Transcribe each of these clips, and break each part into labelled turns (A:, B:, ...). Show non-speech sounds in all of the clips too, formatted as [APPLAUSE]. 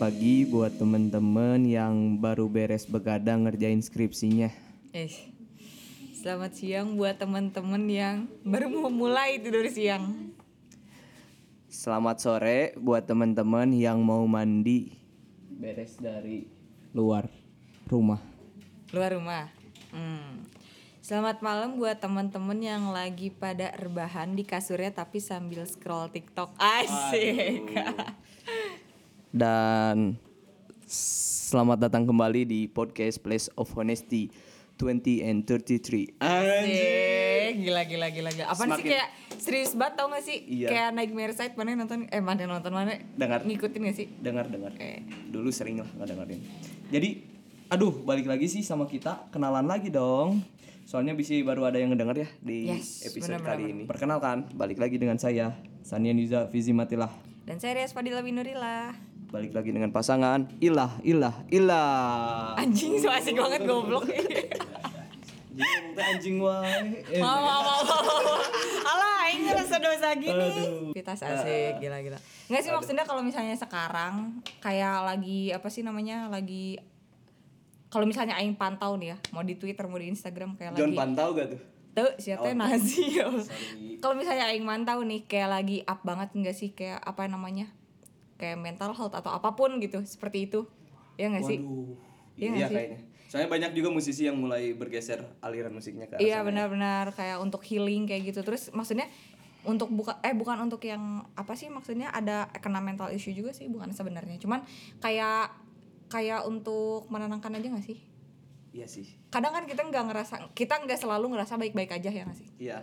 A: pagi buat temen-temen yang baru beres begadang ngerjain skripsinya.
B: Eh, selamat siang buat teman-teman yang baru mau mulai tidur siang.
A: Selamat sore buat temen-temen yang mau mandi beres dari luar rumah.
B: Luar rumah. Hmm. Selamat malam buat teman-teman yang lagi pada rebahan di kasurnya tapi sambil scroll TikTok. Asik.
A: Dan selamat datang kembali di podcast Place of Honesty 20 and 33. Anjir.
B: Asik. Gila gila gila gila. Apaan sih
A: Semakin-
B: kayak serius banget tau gak sih?
A: Iya.
B: Kayak naik Mercedes mana yang nonton eh mana yang nonton mana
A: Dengar.
B: ngikutin gak sih?
A: Dengar-dengar.
B: Eh.
A: Dulu sering lah nggak dengerin. Jadi aduh balik lagi sih sama kita kenalan lagi dong. Soalnya bisa baru ada yang ngedenger ya di
B: Yes,
A: episode
B: benar-benar,
A: kali ini. Perkenalkan, balik lagi dengan saya Sanian Yuza Fizi Matilah.
B: Dan saya Rias Fadila Winurila.
A: Balik lagi dengan pasangan Ilah Ilah Ilah.
B: Anjing so asik banget goblok.
A: Anjing teh anjing wae. Eh,
B: Mau mau mau mau, mau. Alah, ini rasa dosa gini. Kita asik gila-gila. Enggak sih maksudnya kalau misalnya sekarang kayak lagi apa sih namanya? Lagi kalau misalnya aing pantau nih ya, mau di Twitter, mau di Instagram kayak
A: John Oh.
B: lagi
A: pantau gak tuh?
B: tuh siapa nazi ya. [LAUGHS] Kalau misalnya aing mantau nih kayak lagi up banget enggak sih kayak apa namanya? Kayak mental health atau apapun gitu, seperti itu. Ya enggak sih?
A: Waduh.
B: Iya
A: Iya
B: nggak sih?
A: kayaknya. Soalnya banyak juga musisi yang mulai bergeser aliran musiknya ke arah sana.
B: Iya
A: ya.
B: benar-benar kayak untuk healing kayak gitu. Terus maksudnya untuk buka eh bukan untuk yang apa sih maksudnya ada kena mental issue juga sih bukan sebenarnya. Cuman kayak kayak untuk menenangkan aja gak sih?
A: Iya sih.
B: Kadang kan kita nggak ngerasa kita nggak selalu ngerasa baik-baik aja ya gak sih?
A: Iya.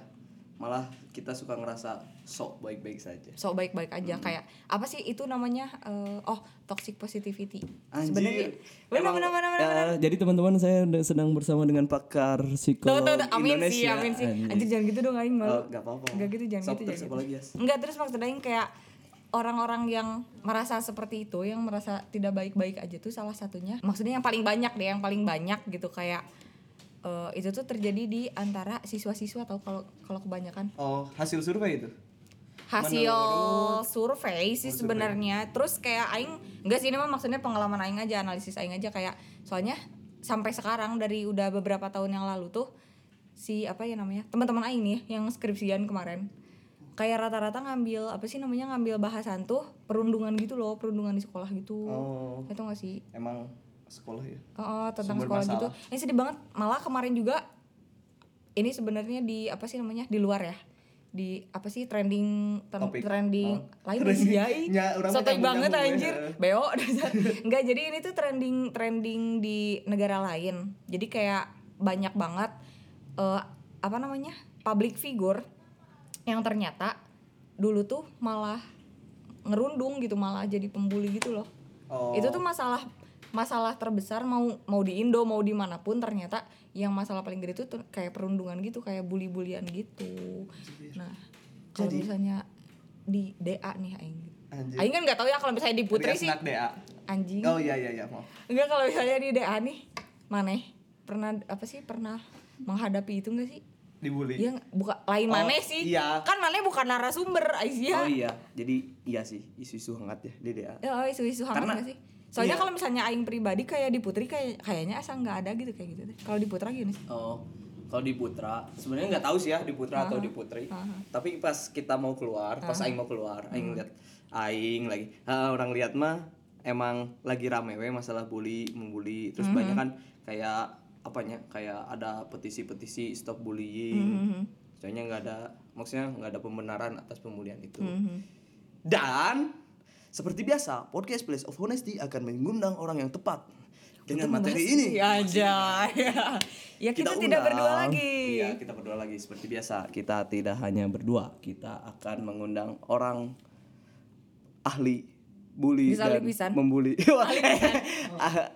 A: Malah kita suka ngerasa sok baik-baik saja.
B: So baik-baik aja
A: Hmm.
B: kayak apa sih itu namanya eh, oh toxic positivity.
A: Anjir.
B: Sebenarnya
A: Emang,
B: benar-benar benar-benar.
A: eh, jadi teman-teman saya de- sedang bersama dengan pakar
B: Tuh,
A: psikologi
B: tuh, tuh. Amin sih,
A: Indonesia.
B: amin sih. Anjir jangan gitu dong aing malu.
A: Oh, nggak apa-apa.
B: Nggak gitu jangan
A: Sok,
B: gitu
A: terus ya.
B: jangan.
A: apa lagi,
B: gitu.
A: Yas?
B: Enggak terus maksudnya aing kayak orang-orang yang merasa seperti itu, yang merasa tidak baik-baik aja tuh salah satunya. Maksudnya yang paling banyak deh, yang paling banyak gitu kayak eh, itu tuh terjadi di antara siswa-siswa atau kalau kalau kebanyakan
A: Oh, hasil survei itu.
B: hasil survei sih sebenarnya terus kayak aing enggak sih ini mah maksudnya pengalaman aing aja analisis aing aja kayak soalnya sampai sekarang dari udah beberapa tahun yang lalu tuh si apa ya namanya teman-teman aing nih yang skripsian kemarin kayak rata-rata ngambil apa sih namanya ngambil bahasan tuh perundungan gitu loh perundungan di sekolah gitu
A: Oh,
B: itu gak sih
A: emang sekolah ya.
B: Oh, tentang
A: Sumber
B: sekolah
A: masalah.
B: gitu. Ini sedih banget. Malah kemarin juga ini sebenarnya di apa sih namanya? Di luar ya. Di apa sih trending ten-
A: Topik.
B: trending
A: Oh.
B: lain
A: Trending.
B: diai.
A: [LAUGHS] Ya, orang
B: Sotoy
A: menyambung-
B: banget
A: nyambung ya.
B: anjir.
A: [LAUGHS]
B: Beo dasar. Enggak, jadi ini tuh trending trending di negara lain. Jadi kayak banyak banget eh, apa namanya? public figure yang ternyata dulu tuh malah ngerundung gitu, malah jadi pembuli gitu loh
A: Oh.
B: itu tuh masalah masalah terbesar mau mau di Indo mau dimanapun ternyata yang masalah paling gede itu kayak perundungan gitu kayak bully-bulian gitu nah kalau misalnya di DA nih Aing
A: Anjir.
B: Aing kan nggak tahu ya kalau misalnya di Putri
A: Rias
B: sih
A: Nak DA.
B: anjing
A: Oh iya iya iya, maaf.
B: enggak kalau misalnya di DA nih maneh pernah apa sih pernah menghadapi itu enggak sih
A: Dibully.
B: Iya nggak? buka lain
A: Oh,
B: maneh sih
A: iya.
B: kan maneh bukan narasumber Aisyah
A: Oh iya. Jadi iya sih isu-isu hangat ya di DA.
B: Ya, oh, isu-isu hangat
A: Karena-
B: nggak sih? Soalnya
A: iya.
B: kalau misalnya aing pribadi kayak di Putri kayak kayaknya asa nggak ada gitu kayak gitu deh. Kalau di Putra gini sih.
A: Oh, kalau di Putra, sebenarnya nggak tahu sih ya di Putra atau di Putri. Tapi pas kita mau keluar, pas Aing mau keluar, Aing lihat Aing lagi. Ah, orang lihat mah emang lagi rame we masalah bully, membuli. Terus banyak kan kayak apanya? Kayak ada petisi-petisi stop bullying.
B: Mhm.
A: Soalnya nggak ada, maksudnya nggak ada pembenaran atas pembulian itu.
B: Mhm.
A: Dan seperti biasa, podcast Place of Honesty akan mengundang orang yang tepat dengan materi ini
B: Iya aja. [LAUGHS] ya kita, tidak
A: undang.
B: berdua lagi.
A: Iya, kita berdua lagi seperti biasa. Kita tidak hanya berdua, kita akan mengundang orang ahli bully
B: Bisa ahli
A: dan
B: pisan.
A: membuli. [LAUGHS] Ah,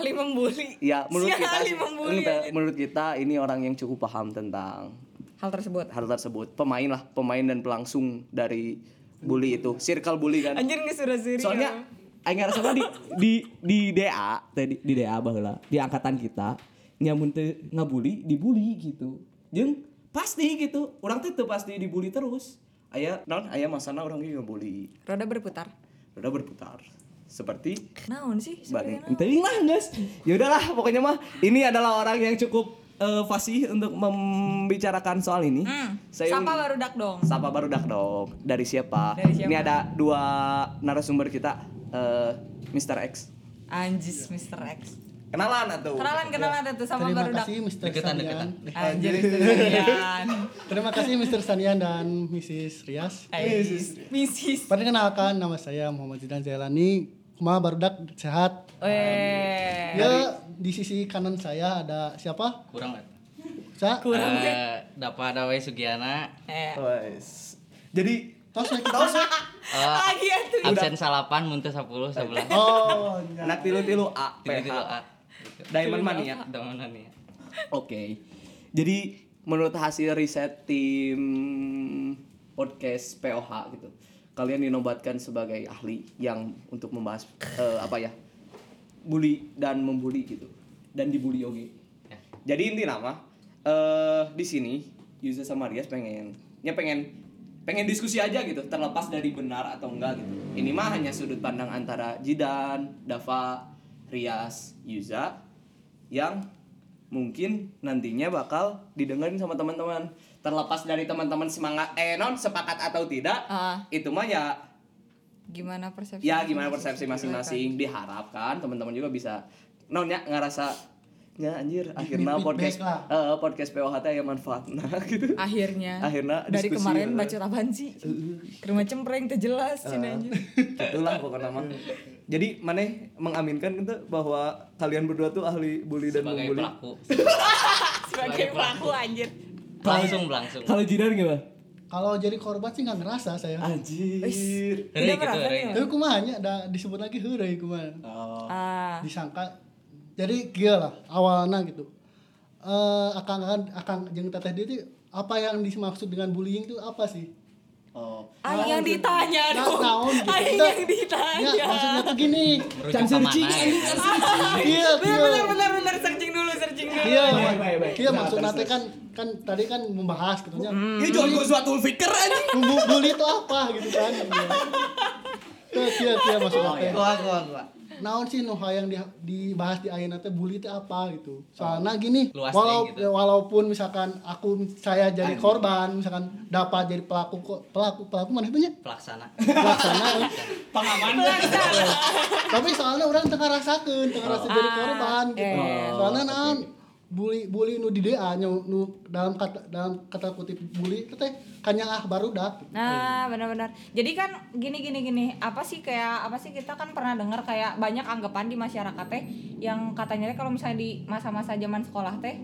B: Ahli membuli.
A: ya, menurut
B: Si
A: kita
B: ahli
A: sih-
B: membuli.
A: menurut- menurut kita ini orang yang cukup paham tentang
B: Hal tersebut.
A: hal tersebut. Pemain lah, pemain dan pelangsung dari bully itu. Circle bully kan.
B: Anjir nggak suruh siri.
A: Soalnya
B: Iya.
A: aing ngerasa mah di di di DA tadi di DA baheula, di angkatan kita nyamun teh ngabuli dibully gitu. Jeung pasti gitu, orang teh teu pasti dibully terus. Aya non aya masana orang ge ngabully.
B: Roda berputar.
A: Udah berputar. seperti
B: naon sih
A: Bani.
B: sebenarnya
A: Teuing lah guys. Ya udahlah, pokoknya mah ini adalah orang yang cukup eh, fasih untuk membicarakan soal ini.
B: Hmm,
A: Saya
B: Sapa baru dak dong.
A: Sapa baru dak dong. Dari siapa?
B: Dari siapa?
A: Ini ada dua narasumber kita eh Mr. X.
B: Anjis Mr. X.
A: Kenalan atuh.
B: Kenalan kenalan ada tuh sama
C: Terima
B: baru dak.
C: kasih Mr.
D: Deketan,
C: Sanian.
B: Anjir
C: [LAUGHS]
B: kalian.
C: Terima kasih Mr. Sanian dan Mrs. Rias.
B: Misis.
C: Perkenalkan nama saya Muhammad Zidan Jailani. Kuma barudak sehat.
B: Weh.
C: Ya di sisi kanan saya ada siapa?
D: kurang lah
C: Ca.
B: Kurang
D: Eh, Dapa Dawai
C: [LAUGHS]
D: Sugiana
B: Eh.
A: Wes. Jadi
C: Tos Mike.
D: Eh,
B: Lagi ya tuh.
D: absen salapan muntah 10 sebelah
C: Oh,
A: [LAUGHS]
C: iya. ya.
A: anak tilu-tilu A
D: tiba
A: PH.
D: A
A: Diamond ya? Mania.
D: Dengan Mania
A: Oke. Jadi menurut hasil riset tim podcast POH gitu, kalian dinobatkan sebagai ahli yang untuk membahas eh, apa ya? bully dan membuli gitu dan dibully oge.
D: Ya.
A: Jadi inti nama eh di sini Yuza sama Rias pengen ya pengen pengen diskusi aja gitu terlepas dari benar atau enggak gitu. Ini mah hanya sudut pandang antara Jidan, Dava, Rias, Yuza yang mungkin nantinya bakal didengerin sama teman-teman terlepas dari teman-teman semangat eh non sepakat atau tidak
B: Ah.
A: itu mah ya
B: Gimana persepsi?
A: ya gimana persepsi masing-masing diharapkan teman-teman juga bisa nonnya ngerasa ya anjir akhirnya
C: feedback
A: podcast
C: lah.
A: eh, podcast POHT yang manfaat nah [LAUGHS] gitu
B: Akhirnya.
A: Akhirnya
B: dari
A: diskusi,
B: kemarin
A: eh.
B: baca apaan sih? Ke rumah cempreng teu jelas
A: Ah.
B: cina anjir.
A: itulah pokoknya mah jadi maneh mengaminkan gitu bahwa kalian berdua tuh ahli bully dan
D: sebagai
A: membuli
D: pelaku
B: [LAUGHS] Sebagai pelaku anjir.
D: langsung langsung
A: kalau jidan gimana
C: Kalau jadi korban sih nggak ngerasa saya.
A: anjir
D: Heri
B: Udah ya?
D: gitu,
B: merasa
D: heri.
B: nih,
C: Tapi kumaha nya ada disebut lagi heureuy kumaha.
A: Oh,
B: Ah,
C: disangka jadi kia lah awalnya gitu eh akang akang akang jeung teteh dia tuh apa yang dimaksud dengan bullying itu apa sih
A: oh
B: Aing Ah, yang ditanya
C: Nah,
B: dong.
C: naon gitu.
B: Aing
C: Nah,
B: yang ditanya.
C: ya maksudnya tuh gini Iya,
D: Merujuk
A: Can searching,
C: kan
D: ke mana, ya?
A: anjing,
C: kia
B: Bener
C: kia
B: bener bener bener searching dulu searching dulu.
C: kia
A: Baik, baik, baik.
C: kia
A: Nah,
C: maksudnya
A: terus,
C: teh kan kan tadi kan membahas gitu nya
B: Hmm.
A: Ini jual gue suatu fikir aja.
C: Bumbu bully itu apa gitu kan iya, kia kia kia
A: Oh,
C: maksudnya
A: iya.
C: teh
D: Eh, Gua, gua, gua.
C: naon sih nu hayang di, dibahas di ayeuna teh bully teh apa gitu.
A: Oh,
C: Soalnya gini,
D: Luas
C: walau-
D: teh gitu.
C: walaupun misalkan aku saya jadi korban, misalkan dapat jadi pelaku kok pelaku pelaku mana banyak
D: pelaksana
C: pelaksana.
A: Pengaman.
C: Tapi soalnya orang tengah rasakeun, tengah rasa jadi
B: Ah,
C: korban gitu.
B: eh.
C: Soalnya naon bully bully nu di DA nu, nu dalam kata dalam kata kutip bully itu teh kanya ah barudak.
A: gitu.
B: Nah,
A: Iya.
B: benar-benar. Jadi kan gini gini gini, apa sih kayak apa sih kita kan pernah dengar kayak banyak anggapan di masyarakat teh yang katanya teh kalau misalnya di masa-masa zaman sekolah teh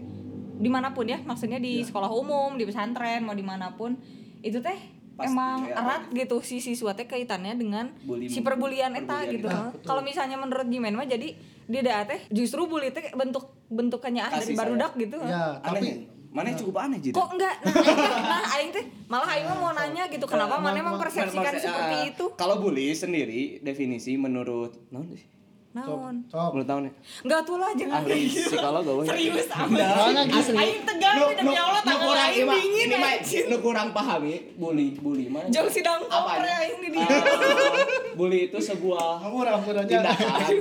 B: dimanapun ya, maksudnya di
A: Iya.
B: sekolah umum, di pesantren, mau dimanapun itu teh
A: Pasti,
B: emang
A: ya.
B: erat gitu si siswa teh kaitannya dengan
A: Bully-
B: si perbulian eta
A: perbulian
B: gitu. Kalau misalnya menurut Jimen mah jadi di daerah teh justru bully teh bentuk bentuk kenyaan dari
A: Kasih
B: barudak gitu.
C: Ya, tapi
A: Aneh. Mana cukup aneh
C: Gitu.
A: jadi.
B: Kok enggak? Nah, aing teh- nah aing teh malah aing mah mau nanya gitu kenapa mana emang persepsikan seperti itu?
A: eh, Kalau bully sendiri definisi menurut non sih?
B: Naon?
C: sok
A: Menurut tahun ya.
B: Enggak tuh lah jangan
A: Ahli psikolog gak boleh.
B: Serius
C: Soalnya
B: amat.
C: gini.
B: Aing tegang nih, demi Allah tangan aing dingin.
A: ini mah
B: aing.
A: nu kurang paham ya bully bully mana?
B: Jong sidang
A: Apanya?
B: kopre aing di
C: Iya,
A: Eh,
B: dieu.
A: bully itu sebuah
C: ampura-ampurannya.
A: tindakan kan.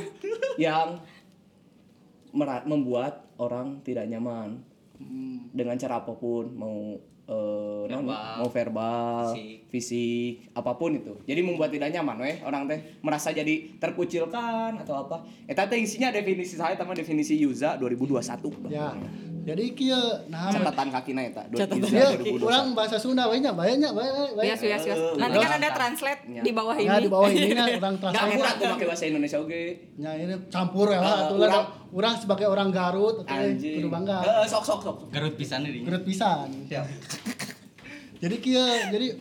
A: yang mera- membuat orang tidak nyaman dengan cara apapun mau eh, non-
D: Verbal.
A: mau verbal
D: Fisik.
A: fisik. apapun itu jadi membuat tidak nyaman weh orang teh merasa jadi terkucilkan atau apa eta teh isinya definisi saya sama definisi Yuza 2021
C: Ya. Jadi kieu nah
A: catatan kakina eta
B: Catatan
A: Yuza
C: Iya,
A: 2021
C: kurang bahasa Sunda banyak, banyak, banyak,
B: Bias bias bias. Nanti kan ada translate di bawah ini.
C: Ya iya. di bawah ini nah, orang
A: Nggak,
C: translate.
A: kurang tuh pakai bahasa Indonesia oke
C: Ya ini campur
B: Ah,
C: ya lah,
A: Eh,
C: atuh lah.
A: urang-
C: Orang sebagai orang Garut, atuh lah,
A: anjing
C: kudu bangga.
B: Ah.
A: Eh, sok sok
C: [LAUGHS]
A: sok
D: gerut pisan nih
C: Garut pisan. Jadi kia, jadi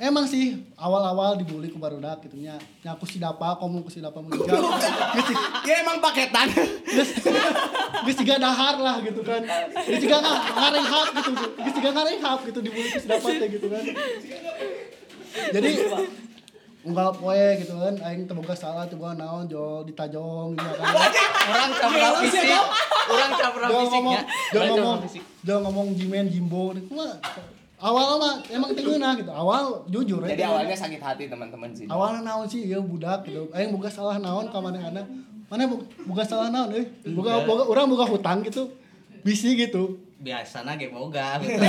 C: emang sih awal-awal dibully ku barudak gitu nya. Nya aku si dapa, komo ku si dapa mun juga. Geus si-
A: ya emang paketan
C: geus siga dahar lah gitu kan. Geus siga nga- ngarehap gitu. Geus siga ngarehap gitu dibully ku si dapa teh gitu kan. Jadi unggal poe gitu kan, aing teu boga salah coba naon jol ditajong gitu kan.
D: orang cabra fisik orang cabra
C: Jangan ngomong,
D: fisiknya
C: jangan
D: Orang cabra
C: ngomong,
D: fisik.
C: jangan ngomong Jimen Jimbo, ini mah awal mah emang teuna gitu awal jujur ya.
A: Jadi awalnya sakit hati teman-teman sih.
C: awalnya naon sih ya budak gitu eh buka salah naon ka mana anak mana bu- buka salah naon eh buka, buka orang buka hutang gitu bisi gitu
D: biasanya kayak boga gitu.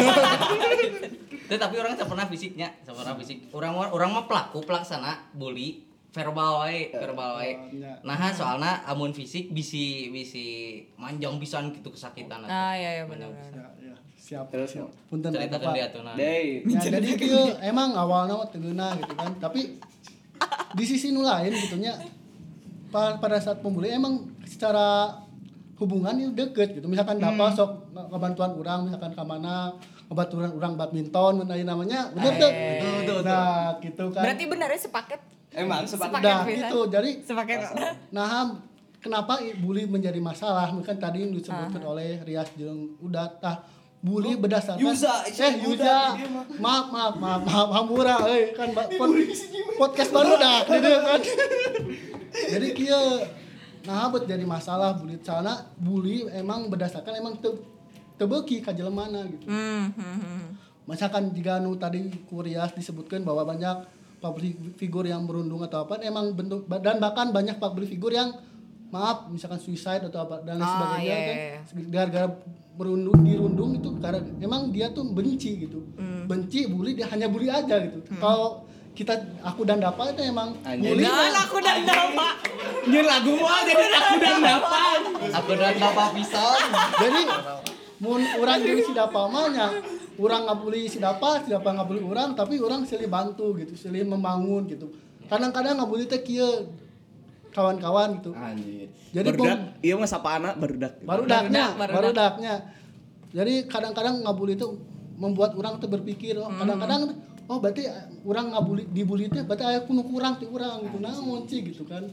D: Tuh, tapi orang tak pernah fisiknya tak pernah fisik orang orang mah pelaku pelaksana bully verbal wae verbal wae
C: Ya.
D: nah soalnya amun fisik bisi bisi manjang pisan gitu kesakitan
B: Ah iya iya benar.
C: ya, ya. siap
A: Terus,
C: siap punten eta,
D: ceritakan
C: Pak.
D: dia tuh nah
A: Dei.
C: Ya, jadi kieu emang awalnya mah teuna gitu kan tapi di sisi nu lain gitu nya pa- pada saat pembuli emang secara hubungan itu deket gitu misalkan
D: Hmm.
C: dapat sok kebantuan orang misalkan ke mana kebantuan orang badminton mun aya namanya bener tuh
D: Eh, Betul, betul, betul.
C: nah gitu kan
B: Berarti benernya sepaket.
A: Emang sepat
B: Sepaket.
C: Nah,
B: pisan.
C: itu jadi
B: Sepaket.
C: nah ham, kenapa i- bully menjadi masalah? Mungkin tadi yang disebutkan oleh Rias jeung Udat. Nah, bully berdasarkan
A: Oh, Yuza, Udat,
C: eh Yuza.
A: dia
C: Maaf, maaf, maaf, maaf, hampura euy, kan ba- pod- podcast baru
A: [LAUGHS]
C: dah gitu kan. jadi kieu nah bet jadi masalah bully sana bully emang berdasarkan emang te, tebeki ka jelemana gitu.
B: Hmm, hmm, hmm.
C: Misalkan jika nu tadi Kurias disebutkan bahwa banyak public figure yang berundung atau apa emang bentuk dan bahkan banyak public figure yang maaf misalkan suicide atau apa dan lain
B: Ah,
C: sebagainya
B: iya,
C: kan
B: iya,
C: gara-gara berundung dirundung itu karena emang dia tuh benci gitu
B: Hmm.
C: benci bully dia hanya bully aja gitu kalau kita aku dan dapat itu emang
A: Anjing.
C: bully
B: Nah,
C: mah-
B: aku dan nama.
A: Ini lagu mah jadi aku dan dapat.
D: aku dan bapak pisan
C: jadi mun orang jadi si dapa mahnya orang ngabuli si dapa si dapa ngabuli orang tapi orang silih bantu gitu silih membangun gitu kadang-kadang ngabuli teh kieu kawan-kawan gitu
A: Anjir.
C: Jadi,
A: berdak,
C: Bung-
A: iya mah sapa anak berdak.
C: baru daknya
B: baru
C: baru daknya jadi kadang-kadang ngabuli itu membuat orang tuh berpikir
B: Hmm.
C: oh kadang-kadang oh berarti orang ngabuli dibully teh berarti aya kuno kurang ti urang gitu naon sih gitu kan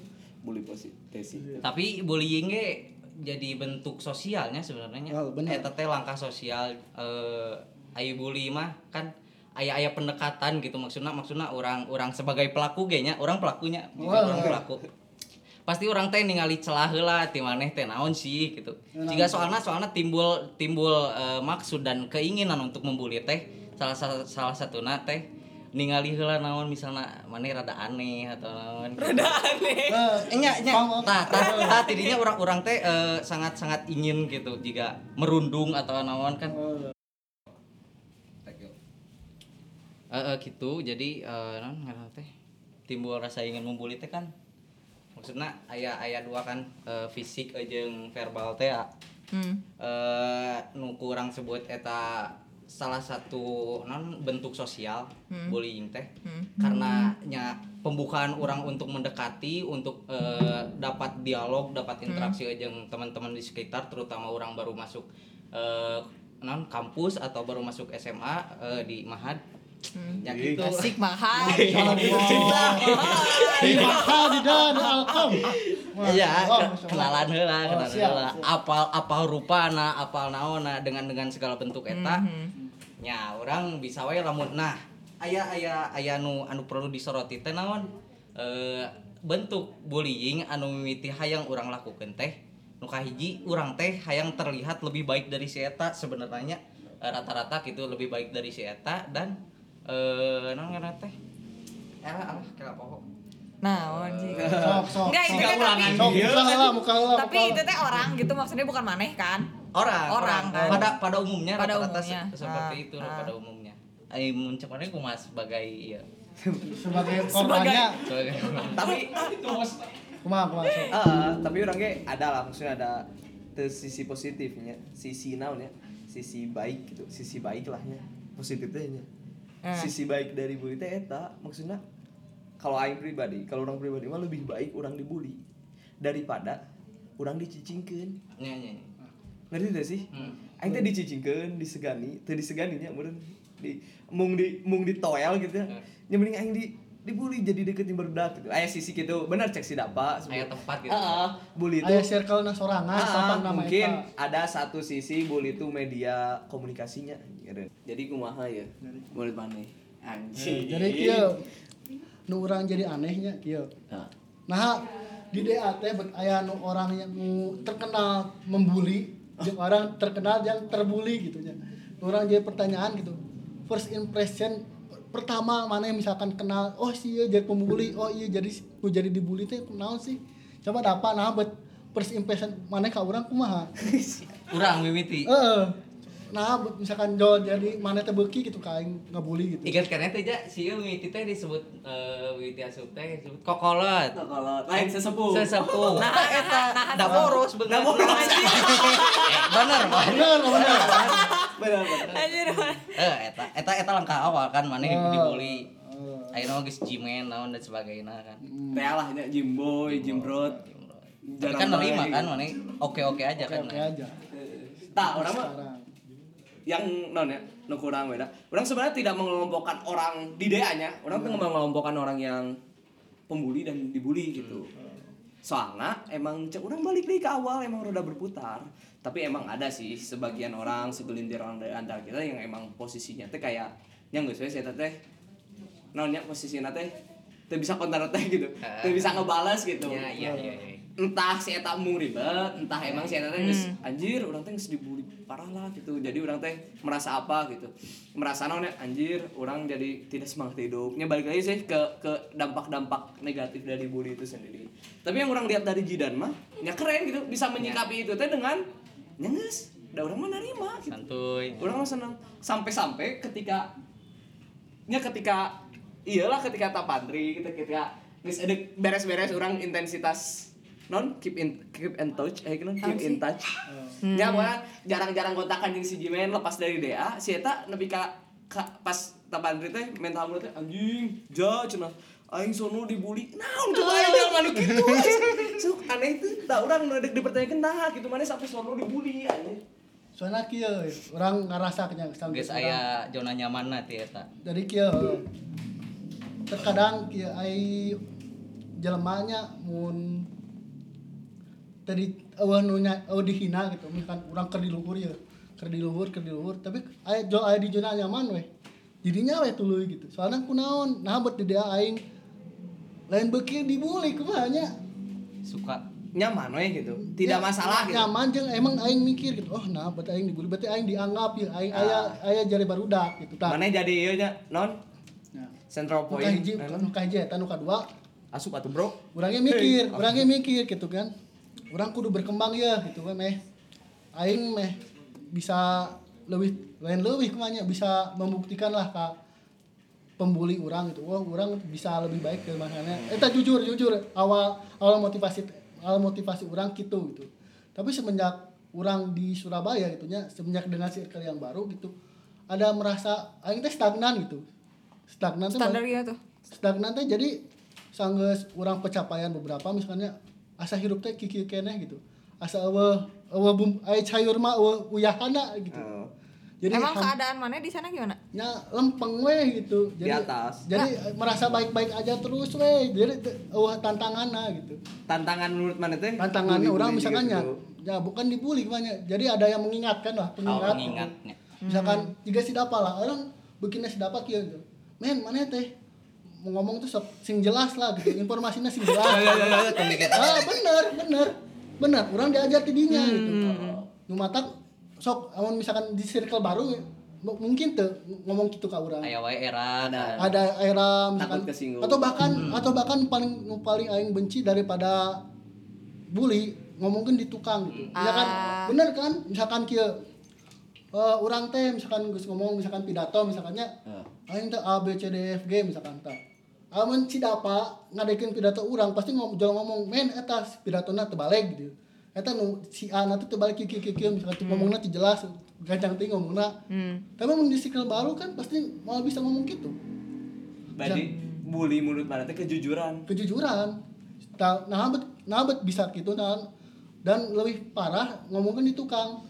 A: Bully
D: Iya.
A: positif.
C: Iya.
D: tapi bullying ge jadi bentuk sosialnya sebenarnya
C: Oh, benar.
D: eta teh langkah sosial eh ayu bully mah kan aya aya pendekatan gitu maksudnya maksudnya orang orang sebagai pelaku ge nya orang pelakunya gitu,
C: Wah.
D: orang pelaku pasti orang teh ningali celah heula ti maneh teh naon sih gitu jika soalnya soalnya timbul timbul eh, maksud dan keinginan untuk membuli teh salah sa- salah satuna teh ningali heula naon misalnya maneh rada aneh atau naon gitu.
C: Eh,
D: Enya, enya.
C: paham, paham.
D: Tah, tah, tah, tidinya orang-orang teh eh, sangat-sangat ingin gitu jika merundung atau naon kan. Eh, eh, gitu, jadi eh, naon ngaranna teh timbul rasa ingin membuli teh kan. Maksudnya ayah ayah dua kan eh, fisik jeung verbal teh ah.
B: Hmm.
D: eh nu kurang sebut eta salah satu non bentuk sosial bullying teh karena nya pembukaan orang untuk mendekati untuk eh, dapat dialog dapat interaksi jeung teman-teman di sekitar terutama orang baru masuk eh, non kampus atau baru masuk SMA eh, di mahad ya gitu [LAUGHS]
B: Asik mahal.
C: Iya.
D: Iya,
C: di mahal di dan alkom
D: Iya,
C: Oh, masya
D: ke-
C: Allah.
D: kenalan heula,
C: Oh,
D: kenalan
C: siap,
D: heula.
C: siap.
D: Apal apal rupana, apal naona dengan dengan segala bentuk
B: Hmm,
D: eta. Nya orang bisa wae lamun nah aya aya aya anu anu perlu disoroti teh naon? Eh, bentuk bullying anu mimiti hayang urang lakukeun teh nu kahiji urang teh hayang terlihat lebih baik dari si eta sebenarnya eh, rata-rata gitu lebih baik dari si eta dan eh naon ngaranna teh? Alah, alah, Eh, kenapa kok?
B: Nah, anjing.
C: sok sok
B: Enggak, itu
C: sok.
B: teh tapi
C: Eh, sok muka lah muka lah
B: tapi
C: muka lah.
B: itu teh orang gitu maksudnya bukan maneh kan.
D: orang
B: Orang, kan?
D: pada pada umumnya
B: Pada
D: rata-rata se-
B: umumnya.
D: seperti
B: Ah,
D: itu loh,
B: ah.
D: pada umumnya Eh, Ay, muncapannya gue mas sebagai iya
C: sebagai korbannya
D: sebagai [LAUGHS]
A: Tapi
C: kumaha kumaha sok.
A: Eh, tapi orang ge ada lah maksudnya ada te- sisi positifnya sisi naon ya sisi baik gitu sisi baik lahnya positifnya nya.
B: Eh.
A: sisi baik dari bully teh eta maksudnya kalau aing pribadi kalau orang pribadi mah lebih baik orang dibully daripada orang dicicingkeun
D: nyanyi
A: ngerti teh sih
D: Hmm.
A: aing teh dicicingkeun disegani teh diseganinya meureun di mung di mung ditoel gitu ya nya mending aing di dibully jadi deketin berdak gitu aya sisi gitu benar cek si dapa
D: Aya tempat gitu.
A: Heeh, bully itu
C: Aya circle na sorangan
A: Ah,
C: sapang nama
A: mungkin
C: eta.
A: ada satu sisi bully itu media komunikasinya keren. jadi kumaha ya mulut mana anjing
C: Jadi kieu nu urang jadi anehnya kieu.
A: Nah,
C: Nah, di DAT bet aya nu orang yang nu terkenal membuli jeung orang terkenal yang terbuli gitu nya. Nu Urang jadi pertanyaan gitu. first impression pertama mana yang misalkan kenal oh sih iya jadi pembuli oh iya jadi ku jadi dibully teh kenal sih coba dapat nah buat first impression mana ka orang kumaha
D: Urang mimiti.
C: heeh nah buat misalkan jol jadi mana teh beuki gitu kain ngebully gitu
D: Ikat karena kan ya, teh ja, si ieu mimiti teh disebut eh mimiti asup teh disebut kokolot.
A: Nah, kalau lain sesepuh
D: Sesepuh. [LAUGHS] Nah, eta da boros bener. [LAUGHS] Eh, Bener, Wan.
C: bener bener
A: benar benar
B: Anjir.
D: Eh, eta eta eta langkah awal kan mana
C: Oh.
D: dibully.
C: Oh.
D: Ayeuna mah geus jimen naon dan sebagainya kan.
A: teh lah nya Jim Boy, Jim Brod.
D: Tapi kan nerima kan mana oke-oke aja
C: oke
D: kan.
C: oke aja
A: Tak, orang mah
C: sekarang
A: yang non ya, nu kurang beda. Orang sebenarnya tidak mengelompokkan orang di DA-nya.
D: Iya.
A: Orang tuh mengelompokkan orang yang pembuli dan dibully gitu.
D: Hmm.
A: Soalnya emang cek orang balik lagi ke awal emang roda berputar. Tapi emang ada sih sebagian orang, segelintir orang dari antara kita yang emang posisinya teh kayak yang nggak sesuai saya teh nonnya posisinya teh teh bisa kontar teh gitu, teh bisa ngebales gitu
D: Iya, Ah. iya, iya. iya.
A: entah si eta mung ribet, entah emang si eta teh geus, anjir urang teh geus dibully parah lah gitu. Jadi urang teh merasa apa gitu. Merasa naon ya, anjir urang jadi tidak semangat hidupnya balik lagi sih ke ke dampak-dampak negatif dari bully itu sendiri. Tapi yang orang lihat dari Jidan mah ya keren gitu bisa menyikapi itu teh dengan ya geus, da urang mah narima gitu.
D: Santuy.
A: Orang mah senang sampai-sampai ketika nya ketika iyalah ketika tapantri kita ketika geus ada beres-beres orang intensitas non keep in keep in touch eh non keep in touch nya pokoknya jarang-jarang kontakan jeung si Jimen lepas dari DA si eta nepi ka, ka- pas tapantri teh mental mulu teh anjing ja cenah aing sono dibully naon coba aing jeung anu kitu sok aneh itu tak urang nu dek dipertanyakeun nah gitu mana sampai sono dibully anjing
C: soalnya kia orang ngerasa kenyang sampai
D: Geus aya zona nyaman na ti eta.
C: dari kia terkadang kia ai jelemanya mun tadi eueuh nu nya eueuh dihina gitu misalkan urang keur di luhur ya keur di luhur keur di luhur tapi aya jo aya di zona nyaman weh jadinya weh tuluy gitu soalnya kunaon nah buat di dia aing lain beuki dibully kumaha nya
D: Suka
A: nyaman weh gitu tidak
C: Ya,
A: masalah gitu
C: nyaman jeung emang aing mikir gitu oh nah berarti aing dibully berarti aing dianggap ya aing aya aya jari barudak gitu
A: Ah.
C: tah
A: mana jadi iya nya non
C: Nah.
A: central
C: Nuka
A: point
C: hiji,
A: Nah,
C: nuka hiji eta nuka dua.
A: asup atuh bro
C: Urangnya mikir, urangnya mikir gitu kan. Urang kudu berkembang ya gitu kan meh. Aing meh bisa lebih lain lebih kumanya bisa membuktikan lah ka pembuli urang gitu. Wah, urang bisa lebih baik ke makanya. Eta jujur jujur awal awal motivasi awal motivasi urang gitu gitu. Tapi semenjak urang di Surabaya gitu nya, semenjak dengan circle yang baru gitu ada merasa aing teh stagnan gitu. Stagnan teh
B: Standar gitu tuh.
C: stagnan teh jadi sanggeus urang pencapaian beberapa misalnya asa hirup teh kiki keneh gitu asa eueuh eueuh bum ai cayur mah eueuh uyahana gitu
A: Eh,
C: jadi
B: Emang
C: ham-
B: keadaan mana di sana gimana?
C: nya lempeng weh gitu
A: Di atas.
C: jadi eh, merasa baik-baik aja terus weh jadi te- eueuh tantanganna gitu
A: tantangan menurut mana teh
C: tantangannya
A: Bully-bully
C: orang
A: Iya, juga
C: misalkan ya,
A: gitu.
C: ya bukan dibully banyak jadi ada yang mengingatkan lah pengingat
D: kalau ngingatnya.
A: Hmm.
C: misalkan jika si dapa lah orang bikinnya si dapa kieu gitu. men mana teh mau ngomong tuh sok sing jelas lah gitu informasinya sing jelas ah bener bener bener orang diajar tidinya
A: Hmm.
C: gitu nu matak sok amun misalkan di circle baru mu- mungkin tuh ngomong gitu ke orang
D: Aya wae era nah.
C: ada era misalkan
A: Takut kesinggung.
C: atau bahkan atau bahkan paling nu paling aing benci daripada bully ngomongin di tukang
A: Hmm.
C: gitu. Misalkan
A: Ah.
C: bener kan misalkan kia eh, orang teh misalkan geus ngomong misalkan pidato misalkannya
A: Ah.
C: aing teh A B C D E F G misalkan tah. Amun si Dapa ngadekin pidato orang pasti ngom jual ngomong men eta pidatona tebalik gitu. Eta nu si A nanti tebalik kieu kieu kieu, kieu misalkan
A: Hmm.
C: teu ngomongna teu jelas gancang teuing ngomongna.
B: Hmm.
C: Tapi mun di circle baru kan pasti malah bisa ngomong gitu
A: berarti bully menurut mana teh kejujuran
C: kejujuran Ta- nah bet nah bet bisa gitu nah dan lebih parah ngomongin di tukang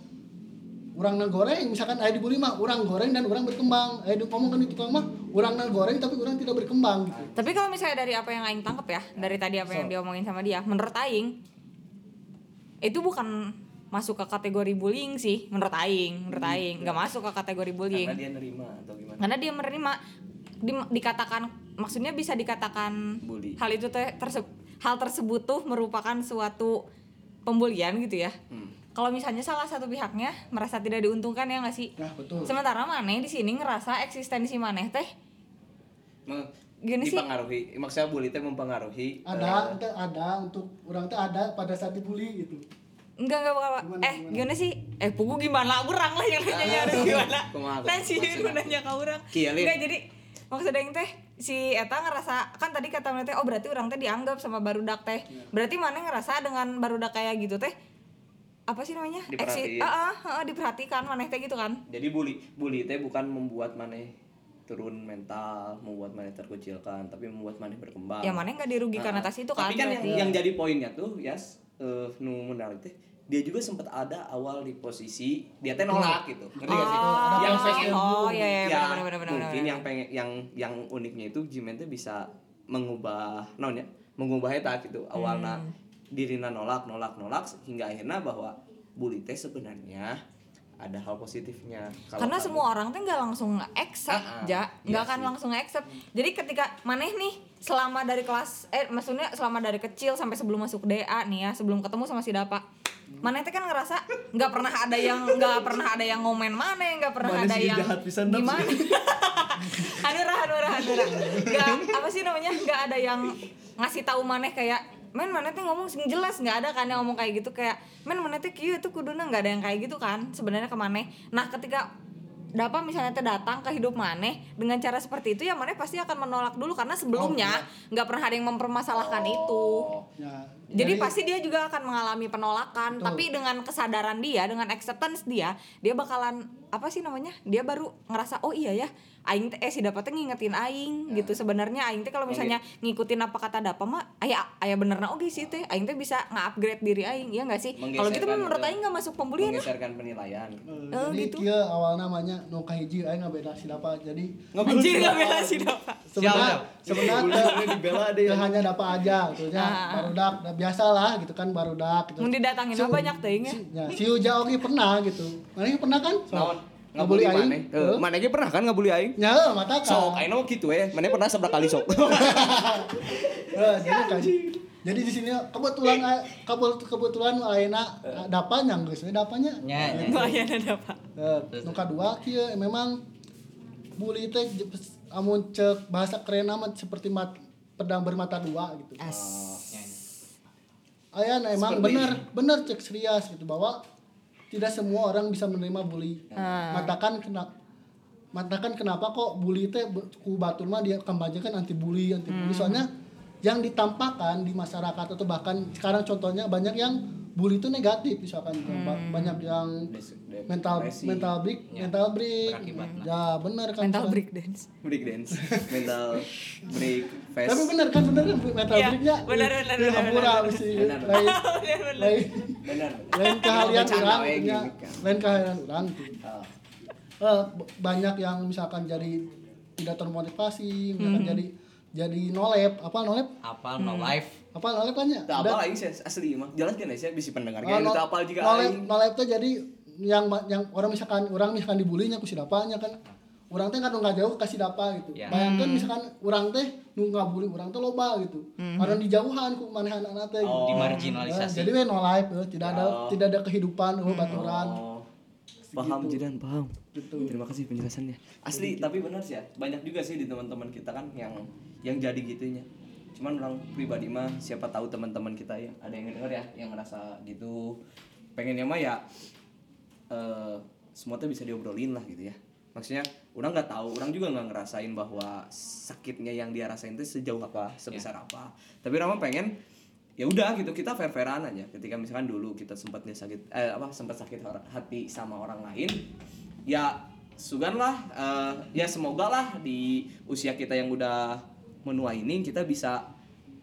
C: orang nang goreng misalkan ayah dibully mah orang goreng dan orang berkembang ayah di- ngomongin di tukang mah orang nang goreng tapi orang tidak berkembang gitu.
B: Tapi kalau misalnya dari apa yang Aing tangkep ya, dari tadi apa yang diomongin sama dia, menurut Aing itu bukan masuk ke kategori bullying sih, menurut Aing, menurut
C: Hmm.
B: Aing nggak masuk ke kategori bullying
A: karena dia nerima atau gimana
B: karena dia menerima di- dikatakan maksudnya bisa dikatakan
A: Bully.
B: hal itu teh terse- hal tersebut tuh merupakan suatu pembulian gitu ya. kalau misalnya salah satu pihaknya merasa tidak diuntungkan ya nggak sih
C: Nah, betul.
B: sementara maneh di sini ngerasa eksistensi maneh teh
A: Me-
B: Gini sih.
A: dipengaruhi maksudnya bully teh mempengaruhi eh,
C: ada ente ada untuk orang teh ada pada saat dibully gitu
B: Enggak, enggak, enggak,
C: Gimana,
B: Eh, gimana, sih? Eh, pugu gimana? Orang lah yang nanya harus gimana.
A: Kumaha, kumaha.
B: Kan sih
A: Maksudnya.
B: yang nanya ke orang.
A: Kieu, Lin.
B: Enggak, jadi maksudnya yang teh si Eta ngerasa kan tadi kata mana teh oh berarti orang teh dianggap sama barudak teh berarti mana ngerasa dengan barudak kayak gitu teh apa sih namanya
A: Diperhatiin.
B: Eksi- ah, ah, ah, diperhatikan maneh teh gitu kan
A: jadi bully bully teh bukan membuat maneh turun mental membuat maneh terkucilkan tapi membuat maneh berkembang
B: ya maneh nggak dirugikan
A: Nah,
B: atas itu kan
A: tapi kan yang,
B: berarti.
A: yang jadi poinnya tuh Yas eh, nu menarik teh dia juga sempat ada awal di posisi dia teh nolak gitu ngerti gak sih
B: oh,
A: yang pengen
B: oh iya iya
A: ya,
B: benar benar benar
A: mungkin
B: benar.
A: yang pengen yang yang uniknya itu Jimin teh bisa mengubah naonnya mengubah eta gitu awalnya
B: Hmm.
A: dirina nolak nolak nolak hingga akhirnya bahwa bully teh sebenarnya ada hal positifnya Kalau
B: karena
A: kamu-
B: semua orang tuh nggak langsung accept
A: Ah, ah.
B: ja nggak
A: Iya
B: akan
A: sih.
B: langsung accept jadi ketika maneh nih selama dari kelas eh maksudnya selama dari kecil sampai sebelum masuk DA nih ya sebelum ketemu sama si Dapa maneh teh kan ngerasa nggak pernah ada yang nggak pernah ada yang ngomen maneh nggak pernah
C: Maneh
B: ada
C: sih
B: yang
C: jahat pisan, Dap.
B: gimana
A: [LAUGHS]
B: hanura hanura hanura nggak apa sih namanya nggak ada yang ngasih tahu maneh kayak men maneh teh ngomong sing jelas nggak ada kan yang ngomong kayak gitu kayak men maneh teh kieu tuh kuduna nggak ada yang kayak gitu kan sebenarnya ke maneh nah ketika Dapa misalnya teh datang ke hidup maneh dengan cara seperti itu ya maneh pasti akan menolak dulu karena sebelumnya nggak pernah ada yang mempermasalahkan itu
C: ya
B: jadi, pasti dia juga akan mengalami penolakan,
C: Betul.
B: tapi dengan kesadaran dia, dengan acceptance dia, dia bakalan apa sih namanya? Dia baru ngerasa oh iya ya, aing teh eh si Dapa teh ngingetin aing gitu. Sebenarnya aing teh kalau misalnya ngikutin apa kata Dapa mah aya aya benerna oge sih teh. Aing teh bisa nge-upgrade diri aing, ya enggak sih? Kalau gitu
A: Menggeserkan
B: mah menurut
A: itu.
B: aing nggak masuk pembulian ya. lah.
A: menggeserkan penilaian
C: Eh,
B: Oh,
C: jadi
B: gitu.
C: kieu awal namanya nu kahiji aya ngabeda silapa jadi
B: [LAUGHS]
C: eh,
B: Anjir nggak bela si Dapa.
C: sebenarnya
D: Siap,
C: sebenarnya
A: [LAUGHS]
C: dibela deh hanya dapat aja gitu ya
B: Ah.
C: barudak nah, biasalah gitu kan barudak gitu
B: Mun didatangin mah banyak teuing ya.
C: si, ya, si Uja Oki pernah gitu mana pernah kan
A: naon
C: nggak
A: ngabully
C: boleh
A: mana
C: aing Heeh.
A: mana ge pernah kan ngabully aing
C: nya Ya, mata kan.
A: sok aing mah gitu ya mana pernah seberapa kali
C: [LAUGHS]
A: sok
C: jadi kan jadi di sini kebetulan a- kebut- kebetulan Aina eh, dapatnya geus we dapatnya
D: Nya, nya.
B: Lumayan ya, ada Pak.
C: nu kadua kieu memang bully teh je- pes- amun cek bahasa keren amat seperti mat, pedang bermata dua gitu
D: Nya, nya.
C: Ayan nah, emang
A: Seperti
C: benar, benar cek serius gitu bahwa tidak semua orang bisa menerima bully.
B: Ah.
C: Matakan kenapa matakan kenapa kok bully teh be- ku batur mah dia kebanyakan anti bully, anti bully.
B: Hmm.
C: Soalnya yang ditampakkan di masyarakat atau bahkan sekarang contohnya banyak yang bully itu negatif misalkan gitu. Ba-
B: Hmm.
C: banyak yang
A: Des- de-
C: mental
A: depresi. Ya.
C: mental break, mental break.
D: Berakibatnya.
C: Ya benar kan.
B: Mental
C: soalnya-
B: breakdance.
A: break dance mental break fast
C: Tapi benar kan benar kan mental
B: Iya,
C: breaknya.
B: benar, benar,
C: Di
B: benar,
C: Hamura mesti
A: Benar, benar.
B: [LAUGHS]
C: lain
B: Bener-bener.
C: lain
A: benar
C: lain keahlian
A: Bercanda
C: orang
A: we,
C: punya
A: gimmick kan.
C: lain keahlian orang gitu.
A: Ah.
C: Eh, b- banyak yang misalkan jadi tidak termotivasi misalkan jadi jadi nolep apa nolep
D: Apa no life?
C: apa nolep kan ya
A: Tak
C: Ada-
A: apa aing sih asli mah. Jelas kan sih bisa pendengar
C: Oh,
A: kan
C: no-
A: itu apal juga
C: nolep
A: aing.
C: nolep tuh jadi yang ma- yang orang misalkan orang misalkan dibulinya ku sidapanya kan orang teh kan nu nggak jauh kasih dapa gitu
D: Ya.
C: bayangkan misalkan orang teh nu nggak bully orang teh loba gitu orang dijauhan ku manehan anak teh gitu.
A: Oh.
D: Di
C: Eh,
D: marginalisasi.
C: jadi we no life eh, tidak ada tidak ada kehidupan eh, baturan
A: Ya. Oh. Paham Jidan, paham.
C: Gitu.
A: Terima kasih penjelasannya. Asli, tapi benar sih ya. Banyak juga sih di teman-teman kita kan yang yang jadi gitunya. Cuman orang pribadi mah siapa tahu teman-teman kita yang ada yang denger ya, yang ngerasa gitu. Pengennya mah ya eh semua tuh bisa diobrolin lah gitu ya. Maksudnya orang nggak tahu, orang juga nggak ngerasain bahwa sakitnya yang dia rasain itu sejauh apa, sebesar apa. Tapi orang mah pengen ya udah gitu kita fair fairan aja ketika misalkan dulu kita sempat nggak sakit eh, apa sempat sakit hor- hati sama orang lain ya sugan lah eh, ya semoga lah di usia kita yang udah menua ini kita bisa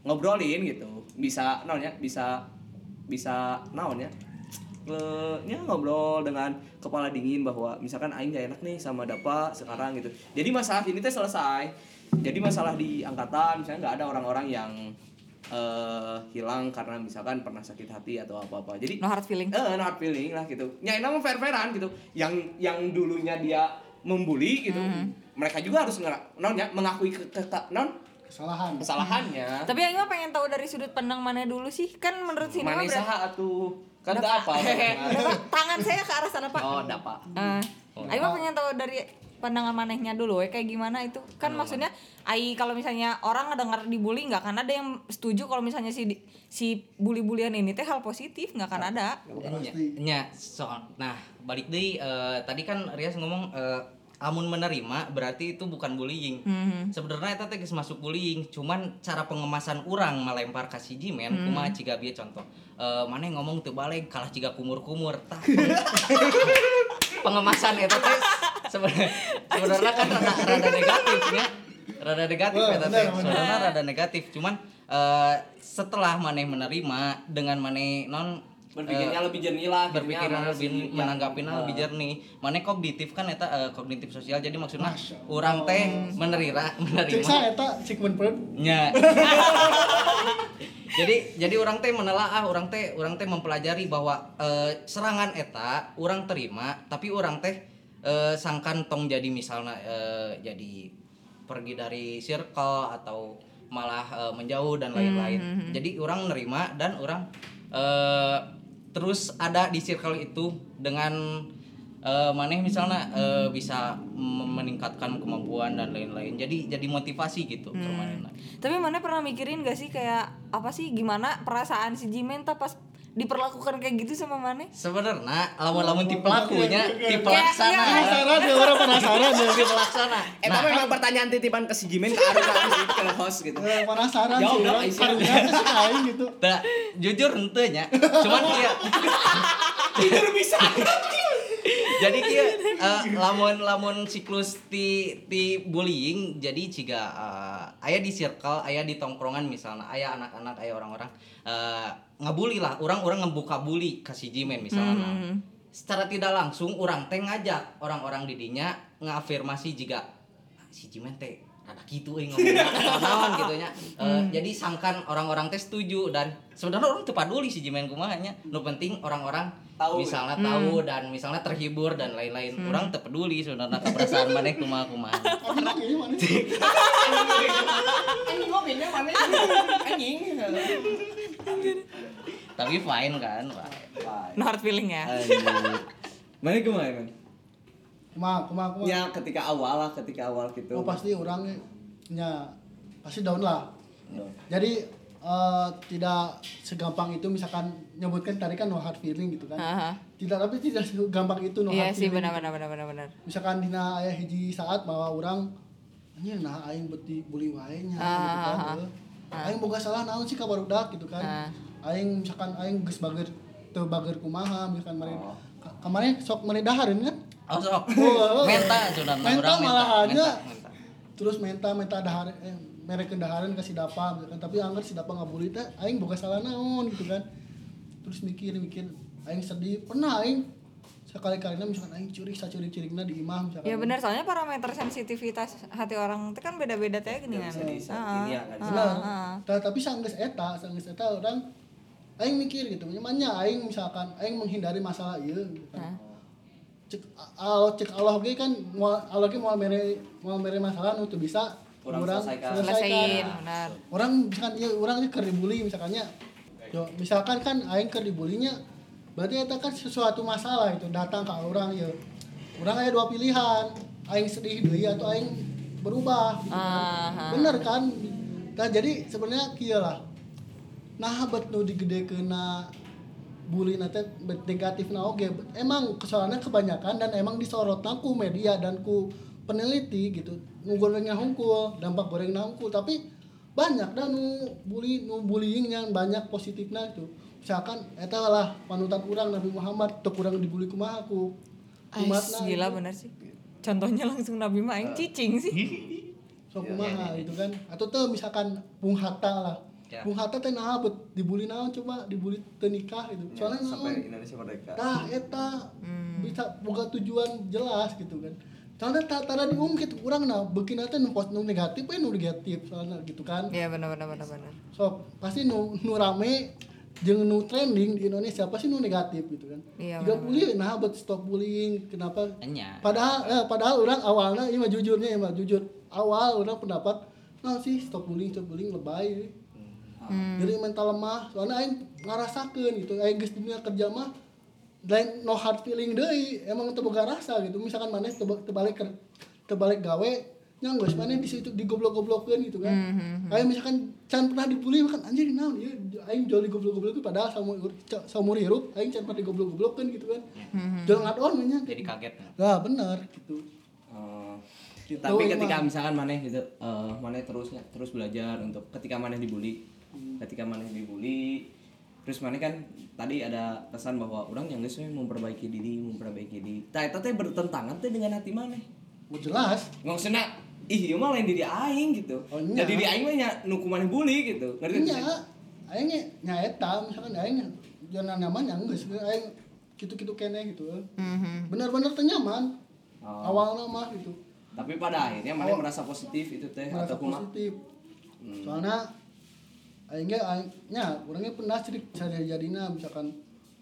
A: ngobrolin gitu bisa naonnya bisa bisa naonnya eh, ya ngobrol dengan kepala dingin bahwa misalkan aing gak enak nih sama Dapa sekarang gitu jadi masalah ini teh selesai jadi masalah di angkatan misalnya nggak ada orang-orang yang eh hilang karena misalkan pernah sakit hati atau apa apa jadi
B: No hard feeling.
A: eh no hard feeling lah gitu ya emang fair fairan gitu yang yang dulunya dia membuli gitu
B: Mm-hmm.
A: mereka juga harus ngerak non ya mengakui ke, ke- ke- non
C: kesalahan
A: kesalahannya
B: Tapi Aing mah pengen tahu dari sudut pandang mana dulu sih? Kan menurut sini
A: mana
B: mah berarti
A: saha atuh Kan apa?
B: [LAUGHS] Dapat tangan saya ke arah sana, Pak.
A: Oh, dapat.
B: Ah,
C: Oh,
B: Aing mah pengen tahu dari pandangan manehnya dulu ya kayak gimana itu kan maksudnya Ai kalau misalnya orang ngedengar dibully nggak akan ada yang setuju kalau misalnya si di- si bully-bulian ini teh hal positif nggak akan ada
A: Iya.
C: Pasti.
D: Nya, Iya. soal nah balik deh tadi kan Rias ngomong eh, amun menerima berarti itu bukan bullying. Sebenarnya eta teh geus masuk bullying, cuman cara pengemasan urang melempar ka siji men kumaha ciga bieu contoh. Eh, mana yang ngomong teu balik kalah ciga kumur-kumur tah. pengemasan eta teh sebenarnya sebenarnya kan rada, rada negatifnya. Rada negatif
C: Wah,
D: eta
C: benar,
D: teh.
C: benar.
D: Sebenarnya rada negatif, cuman eh, setelah maneh menerima dengan maneh non eh,
A: Berpikirnya lebih jernih lah. akhirnya
D: berpikir
A: sama gitu. si-
D: lebih
A: eh,
D: menanggapinya lebih jernih mana kognitif kan eta eh, kognitif sosial jadi maksudnya orang teh menerima
C: Cek
D: menerima
C: saya eta Sigmund Freud.
D: nya [LAUGHS] jadi jadi orang teh menelaah orang teh orang teh mempelajari bahwa eh, serangan eta orang terima tapi orang teh eh, sangkan tong jadi misalnya eh, jadi pergi dari circle atau malah eh, menjauh dan lain-lain jadi orang nerima dan orang eh, terus ada di circle itu dengan eh maneh misalnya eh, bisa mem- meningkatkan kemampuan dan lain-lain jadi jadi motivasi gitu ke manehna.
B: tapi mana pernah mikirin gak sih kayak apa sih gimana perasaan si Jimen tah pas diperlakukan kayak gitu sama mana
D: sebenarnya lamun-lamun ti pelakunya ti pelaksana
B: Kayak-
C: Penasaran ya orang penasaran ya.
D: ti pelaksana
A: Eh, tapi memang pertanyaan titipan ke si Jimin ke Arun Arun sih, ke host gitu.
C: Eh, Penasaran sih
A: Jawab dong,
C: orang
A: Aisyah.
C: karunya sih aing
A: [LAUGHS]
C: gitu.
D: Tah, Nah, jujur henteu
C: [LAUGHS]
D: nya cuman iya
A: Tidur bisa.
D: jadi kia eh, lamun lamun siklus ti ti bullying jadi ciga eh, aya di circle aya di tongkrongan misalnya aya anak-anak aya orang-orang eh, ngebully lah orang-orang ngebuka bully ke si Jimin misalnya secara tidak langsung orang teh ngajak orang-orang didinya ngafirmasi jika "Ah, si Jimin teh ada gitu euy ngomongnya naon gitu nya Eh, jadi sangkan orang-orang teh setuju dan sebenarnya orang teu paduli si Jimin kumaha nya nu penting orang-orang
A: Tahu.
D: misalnya
C: Hmm.
D: misalnya tahu dan misalnya terhibur dan lain-lain orang terpeduli sebenarnya
C: [LAUGHS]
D: keperasaan mana kumaha kumaha
C: Tapi nang ini mana?
A: Anjing mobilnya mana? Anjing.
D: tapi fine kan fine.
B: no hard feeling ya
C: Eh.
A: Mana kemarin?
C: Kumaha, kumaha, kumaha.
A: Ya ketika awal lah, ketika awal gitu.
C: Oh pasti orangnya pasti down lah.
A: Ya.
C: Jadi eh, tidak segampang itu misalkan nyebutkan tadi kan no hard feeling gitu kan.
B: Aha.
C: Tidak tapi tidak segampang itu no
B: iya
C: hard
B: sih
C: feeling.
B: benar benar benar benar benar
C: Misalkan dina aya hiji saat bahwa orang anjir nah aing beti bully wae nya
B: Ah,
C: gitu kan.
B: ah,
C: eh. Aing boga salah naon sih ka barudak gitu kan.
B: Ah.
C: Aing misalkan aing geus bager teu bager kumaha misalkan kemarin
B: Ah.
C: kemarin sok meredahareun kan.
D: oh sok
C: Oh, oh.
D: menta sebenarnya
C: Menta
D: orang
C: malahan
D: menta,
C: ya.
D: menta.
C: terus menta menta dahar eh merek daharan ke si Dapa gitu kan tapi angker si Dapa ngabully teh aing boga salah naon gitu kan terus mikir mikir aing sedih pernah aing sekali kalinya misalkan aing curi sa curi curigna di imam misalkan
B: ya benar soalnya parameter sensitivitas hati orang itu kan beda beda teh gini kan
A: Bisa di
B: Ah,
A: ini ya kan.
C: Benar. Tah, "Nah, tapi sanggeus eta sanggeus eta orang aing mikir gitu nyamannya aing misalkan aing menghindari masalah ieu gitu kan. cek Allah cek Allah ge kan moal Allah ge moal mere moal mere masalah nu teu bisa
A: Urang selesaikan.
B: selesain benar
C: orang misalkan ya orang ini keur dibully misalkannya yo misalkan kan aing keur dibulinya berarti itu kan sesuatu masalah itu datang ke orang ya orang ada dua pilihan aing sedih deui atau aing berubah gitu kan. bener kan nah jadi sebenarnya kieu lah nah bet nu digede kena bully nanti negatif na oge emang kesalahannya kebanyakan dan emang disorotna ku media dan ku peneliti gitu nu gorengnya hungkul dampak gorengnya hungkul tapi banyak dan nu bully nu bullying yang banyak positifnya itu misalkan eta lah panutan urang Nabi Muhammad teu kurang dibully kumaha ku
B: Ais,
C: nah,
B: gila bener sih contohnya langsung Nabi mah aing cicing sih
C: so kumaha gitu kan atau tuh misalkan Bung Hatta lah
D: Ya.
C: Bung Hatta teh naha bet dibully naon coba dibully teu nikah gitu soalnya naon?
A: Ya, sampai Indonesia merdeka.
C: Nah, eta
B: Hmm.
C: bisa boga tujuan jelas gitu kan. Soalnya tak tara diungkit urang nah beuki teh nu pos- nu negatif we nu negatif soalnya gitu kan.
B: ya benar benar benar benar
C: Sok pasti nu nu rame jeung nu trending di Indonesia pasti nu negatif gitu kan.
B: Iya,
C: Tiga puluh nah buat stop bullying kenapa?
D: Enya.
C: Padahal eh, padahal orang awalnya iya, ini mah "Ah, jujurnya ya mah jujur awal orang pendapat nah sih stop bullying stop bullying lebay jadi mental lemah soalnya aing ngarasakeun gitu aing geus di dunia kerja mah lain no hard feeling deui emang teu boga rasa gitu misalkan maneh teu teu balik ker- teu balik gawe nya geus maneh di situ digoblok-goblokkeun gitu kan aing misalkan can pernah dibully kan anjir naon ieu aing jol digoblok-goblokkeun padahal saumur saumur hirup aing can pernah digoblok-goblokkeun gitu kan jol ngadon nya
D: jadi kaget
C: lah bener gitu
A: Eh, tapi ketika misalkan maneh gitu eh, maneh terusnya terus belajar untuk ketika maneh dibully
C: Hmm.
A: ketika maneh dibully terus maneh kan tadi ada pesan bahwa orang yang geus we memperbaiki diri memperbaiki diri tah eta teh bertentangan teh dengan hati maneh
C: mau jelas
A: maksudna ih ieu mah lain diri aing gitu
C: Oh,
A: jadi
C: nya.
A: diri aing mah nya nu ku maneh bully gitu ngerti
C: Nya, Iya. aing ge nya eta misalkan aing jangan nyaman yang geus aing gitu-gitu kene gitu.
B: Hmm.
C: Benar-benar teu nyaman.
A: Oh.
C: Awalnya mah gitu.
A: tapi pada akhirnya maneh merasa positif itu teh
C: Oh.
A: Eh,
C: Merasa
A: atau Hmm. kumaha
C: positif. Soalnya aing ge aing nya urang ge pernah cerik cara jadina misalkan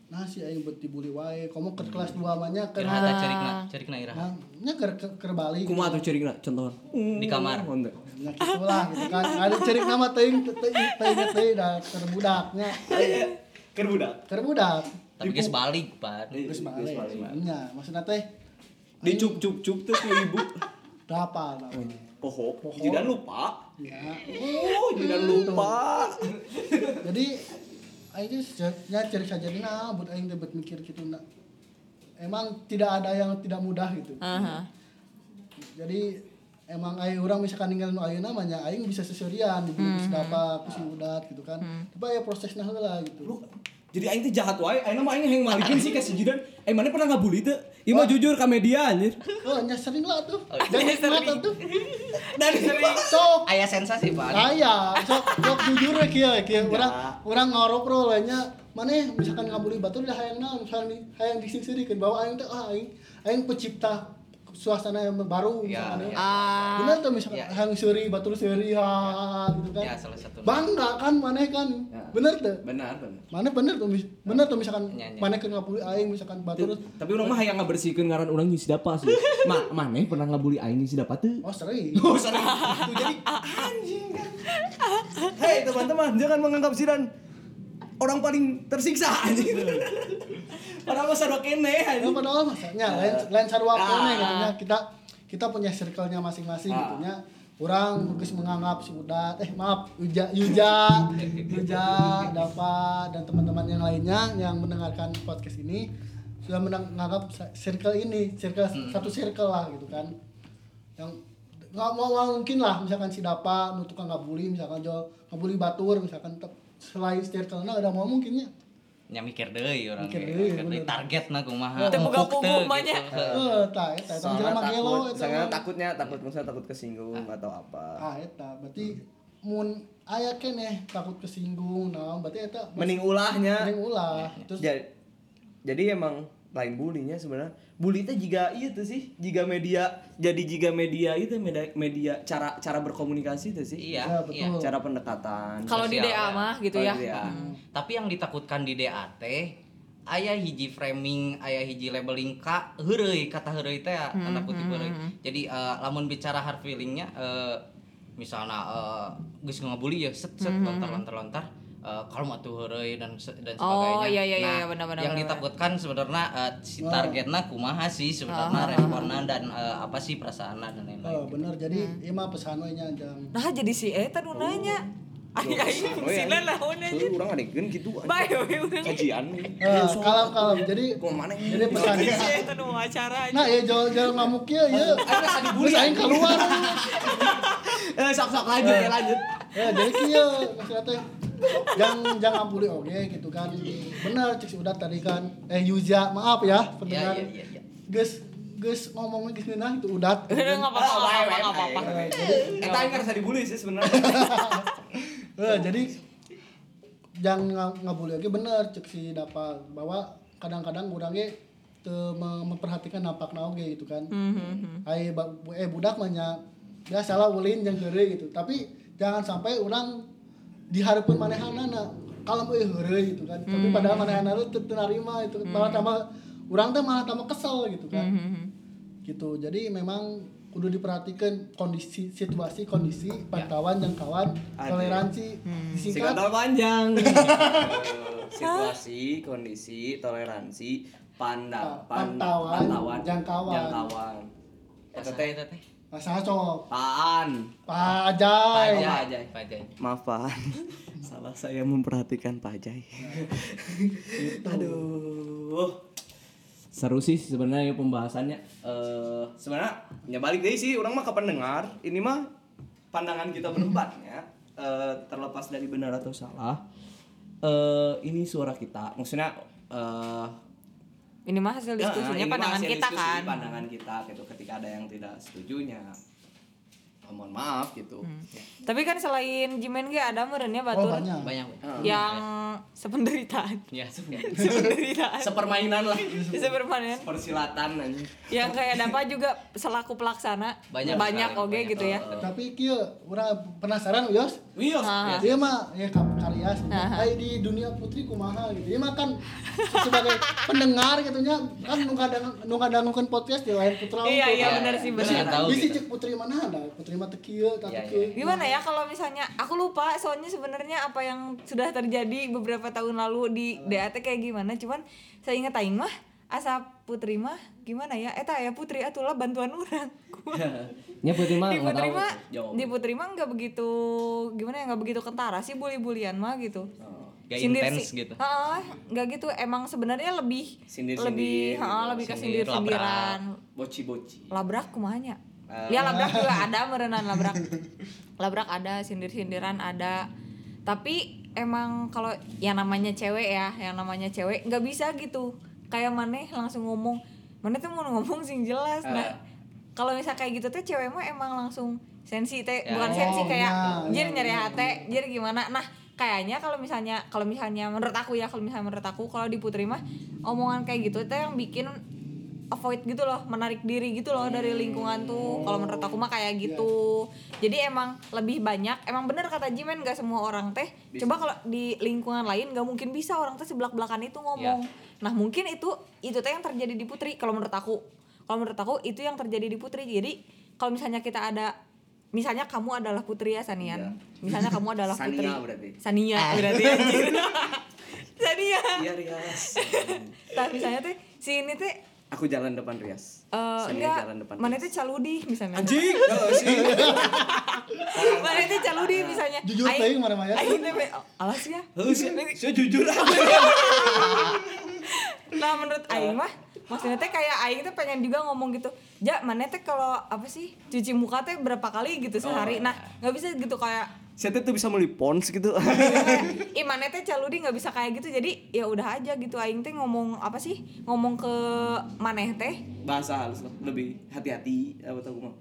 C: nah si aing buat dibully wae, komo ke
A: Hmm.
C: kelas 2 mah nya ke
D: iraha teh cerik na cerik na iraha
C: nah, nya ke ke Bali.
A: kumaha tuh ciri contohan
D: di kamar
A: Oh, enggak.
C: Ya gitu lah gitu kan. Ada cerik nama teuing teuing teuing teuing da kerbudaknya.
A: Iya, Keur budak
C: Kerbudak.
D: tapi geus balik pan
C: Terus
A: Geus iya.
C: balik.
A: balik.
C: Nya, maksudnya teh
A: dicup cup cup tuh ku ibu
C: Dapal, dapal.
A: poho jidan lupa
C: Ya.
A: oh jidan lupa
C: Jadi aing teh sejatnya cari saja nah, buat aing teh buat mikir gitu nah. Emang tidak ada yang tidak mudah gitu.
B: Aha.
C: Jadi emang aing orang misalkan ninggal nu ayeuna mah nya aing bisa seserian dibully hmm. dapat ku si udat gitu kan. Tapi ya prosesnya heula gitu.
A: lu jadi aing teh jahat wae aing mah aing yang malikeun sih ka si jidan aing mana pernah ngabuli teh ieu mah jujur ka media anjir
C: Oh, nya sering lah tuh.
D: Oh,
C: Jadi mata tuh.
A: dari sering
C: Sok
D: aya sensasi
C: Ah,
D: pan
C: Aya, sok sok jujur we kieu kieu urang urang ngorobro we nya. Maneh misalkan ngabuli batu udah hayang naon misalkan di hayang disingsirikeun bahwa aing teh ah aing aing pencipta suasana yang baru
D: Ya,
C: misalkan.
D: ya.
B: Ah.
C: Benar tuh misalkan
D: Ya.
C: hayang seuri batur seuri ha gitu kan.
D: ya salah satu
C: Bangga kan maneh kan.
A: Ya.
C: Bener tuh.
A: benar benar
C: Mana bener tuh mis- bener tuh misalkan
D: Ya, ya.
C: maneh keur ngabuli aing misalkan batur
A: tapi orang mah hayang ngabersihkeun ngaran urang jeung si dapa [LAUGHS] sih mah maneh pernah ngabuli aing jeung si dapa teu
C: Oh
D: [LAUGHS]
C: sering.
A: Oh, sorry. Itu jadi anjing kan. Hei, teman-teman, jangan menganggap Zidan orang paling tersiksa anjing. Padahal masa do kene
C: Ya
A: anjing.
C: padahal masanya lain
A: Eh,
C: lain sarua kene gitu nya. kita kita punya circle-nya masing-masing
A: Ah.
C: gitu nya. Orang geus menganggap si Udat, eh maaf, Yuja, Yuja, Yuja, Dava dan teman-teman yang lainnya yang mendengarkan podcast ini sudah menganggap sa- circle ini, circle
A: Hmm.
C: satu circle lah gitu kan. Yang nggak mau nggak mungkin lah misalkan si Dapa nutup nggak bully misalkan jual nggak bully batur misalkan tep- selain circle-nya ada mau mungkinnya
D: nya mikir deui urang
C: Mikir
D: ge.
C: deui,
D: Mikir deui
C: bener.
D: target na kumaha
B: Teu pegang
D: Empuk teu,
B: punggung mah nya.
D: gitu.
C: eh tak
A: Soalnya
C: tak
A: takut, soalnya
C: tak
A: takutnya takut misalnya takut kesinggung atau apa.
C: ah eta berarti mun aya keneh takut kesinggung nah berarti eta
A: Mending ulahnya.
C: mending ulah terus
A: jadi, jadi emang lain bulinya sebenarnya bully itu jika iya tuh sih jika media jadi jika media itu media, media cara cara berkomunikasi itu sih Oh.
D: iya
C: Ya,
D: iya
C: betul.
A: cara Iya. pendekatan
B: Kalau di DA
D: Sosial, ya. Hmm.
B: mah gitu
A: Kalau
B: ya.
A: di DA.
D: [LAUGHS] tapi yang ditakutkan di DAT ayah hiji framing ayah hiji labeling ka heureuy kata heureuy teh ya,
B: Hmm,
D: tanda kutip heureuy jadi eh, lamun bicara hard feelingnya eh, misalnya eh, geus ngabuli ya set
B: Hmm,
D: set lontar lontar lontar eh, kalau mau tuh heureuy dan se- dan sebagainya
B: Oh, iya, iya, iya,
D: nah
B: iya, benar, benar,
D: yang
B: benar,
D: ditakutkan sebenarnya eh, si targetnya kumaha sih sebenarnya
B: Oh.
D: responnya dan eh, apa sih perasaannya dan lain-lain
A: gitu.
C: oh, bener jadi ieu mah pesan we nya jang
B: Nah jadi si Eta nu nanya.
A: Oh.
B: Aing aing
A: iya.
B: fungsina naon aja.
A: orang ada gen gitu anjing.
B: Bae we urang.
A: kajian Iya,
C: Eh, kalem kalem jadi
A: Gua mana ini?
C: jadi pesan
B: Si Eta nu acara aja.
C: nah ya jauh jauh ngamuk ya ya
A: rasa dibully,
C: terus aing keluar
A: Eh, sok sok lanjut ya lanjut.
C: ya jadi kieu maksudnya teh jangan jangan bully oke gitu kan bener cek si udah tadi kan eh Yuja maaf ya
D: ya
C: pendengar
D: ya ya, ya.
C: geus geus ngomongnya geus ngeunah itu Eh, udah
B: Enggak apa-apa,
A: Ah,
B: enggak
A: baik,
B: apa-apa.
A: baik, baik. Eta aing rasa dibully sih sebenarnya.
C: Eh, jadi jangan nga- ngabully oke bener cek si dapat bahwa kadang-kadang orangnya teu me- memperhatikan napak oge gitu kan. Ai ba- bu- eh budak mah nya ya salah ulin jeung heureuy gitu. Tapi jangan sampai orang diharapkeun manehanana kalem euy heureuy gitu kan. Tapi padahal manehanana teu teu narima itu malah tambah orang teh malah tambah kesel gitu kan. Gitu. kan. Jadi memang kudu diperhatikan kondisi situasi kondisi pantauan jangkauan
A: Ada.
C: toleransi
B: Hmm.
C: disingkat
A: Singkatan
C: [LAUGHS]
A: panjang. Situasi, kondisi, toleransi, panda, pan-
C: Oh, Pantauan, jangkauan.
A: jangkauan. Eta teh, eta teh.
C: rasa cocok
A: Paan.
C: pajai
A: Pajai. Ajay.
D: Pajai.
A: Maaf Paan. [LAUGHS] Salah saya memperhatikan Pak Jai. Aduh. Gitu. Seru sih sebenarnya pembahasannya. Eh, sebenarnya ya balik deh sih orang mah ke pendengar. Ini mah pandangan kita berempatnya eh, terlepas dari benar atau salah. Eh, ini suara kita. Maksudnya eh
B: Ini mah hasil
A: Nah,
B: diskusinya
A: ini
B: pandangan
A: hasil
B: kita
A: diskusi
B: kan.
A: pandangan kita gitu ketika ada yang tidak setujunya eh, mohon maaf gitu
B: Tapi kan selain Jimen ge ada merenya
C: oh
B: batur
C: banyak
D: Banyak.
B: yang sependeritaan.
D: Ya, sudah.
B: sependeritaan.
A: sepermainan lah
B: [LAUGHS] Bisa permanen.
A: persilatan aja
B: Yang kayak Dapa juga selaku pelaksana
D: Banyak sekali,
B: oge
D: banyak. Oh.
B: gitu ya.
C: tapi kieu orang penasaran Yos
A: Wios
B: Ah.
C: Dia mah ya kap- karya sih. Ay, di dunia putri kumaha gitu. Dia mah kan sebagai pendengar gitu nya kan nu kadang nu kadangkeun podcast di lain putra.
B: Iya, iya,
C: gitu.
B: benar sih, benar.
D: Bisa tahu
C: Bisi
D: gitu.
C: cek putri mana ada? Putri mah teu kieu, tah
D: Iya,
C: teu kieu.
B: Gimana ya kalau misalnya aku lupa soalnya sebenarnya apa yang sudah terjadi beberapa tahun lalu di DAT kayak gimana cuman saya ingat aing mah asap putri mah gimana ya eta ya putri atulah bantuan orang
A: [LAUGHS]
E: Ya Putri mah
B: di
E: nggak
B: putri
E: tahu.
B: mah
A: Jauh.
B: di putri mah nggak begitu gimana ya nggak begitu kentara sih bully-bulian mah gitu
D: Gak
B: Sindir
D: Oh. intens
B: si-
D: gitu.
B: Heeh, nggak gitu emang sebenarnya lebih
A: Sindir-sindir
B: lebih
A: gitu.
B: heeh, lebih ke
D: Sindir,
B: sindir sindiran
A: boci boci
B: labrak kumahanya ya labrak juga ada merenan labrak labrak ada sindir sindiran ada tapi emang kalau yang namanya cewek ya yang namanya cewek nggak bisa gitu kayak maneh langsung ngomong mana tuh mau ngomong sing jelas nah kalau misal kayak gitu tuh cewek mah emang langsung sensi teh bukan
C: Oh,
B: sensi kayak
C: nah,
B: jir
C: iya,
B: nyari hati jir gimana nah kayaknya kalau misalnya kalau misalnya menurut aku ya kalau misalnya menurut aku kalau di putri mah omongan kayak gitu teh yang bikin avoid gitu loh menarik diri gitu loh dari lingkungan tuh kalau menurut aku mah kayak gitu jadi emang lebih banyak emang bener kata Jimen gak semua orang teh coba kalau di lingkungan lain gak mungkin bisa orang teh sebelak belakan itu ngomong nah mungkin itu itu teh yang terjadi di Putri kalau menurut aku kalau menurut aku itu yang terjadi di Putri jadi kalau misalnya kita ada misalnya kamu adalah Putri ya Sanian misalnya kamu adalah
A: Iya. Sania
B: Putri
A: berarti.
B: Sania
C: Eh.
B: berarti [LAUGHS] anjir. Sania
A: iya Rias
B: tapi misalnya teh si ini teh
A: aku jalan depan Rias
B: Eh,
A: Saya
B: enggak,
A: jalan depan
B: mana
A: Rias.
B: itu caludi misalnya
A: anjing kalau sih
B: Mana itu caludi misalnya
C: Jujur
B: Aing-
C: teuing mana mah ya.
B: Aing teh be- alas ya
A: Heuh, sih, saya jujur aja
B: Nah menurut Aing mah Maksudnya teh kayak Aing teh pengen juga ngomong gitu Ja mana teh kalau apa sih Cuci muka teh berapa kali gitu
A: Oh,
B: sehari
A: iya.
B: Nah gak bisa gitu
A: [LAUGHS]
B: kayak
A: saya tuh bisa beli pons
B: [LAUGHS]
A: gitu
B: Ih mana teh caludi gak bisa kayak gitu Jadi ya udah aja gitu Aing teh ngomong apa sih Ngomong ke maneh teh
A: bahasa halus lah lebih hati-hati apa tau gue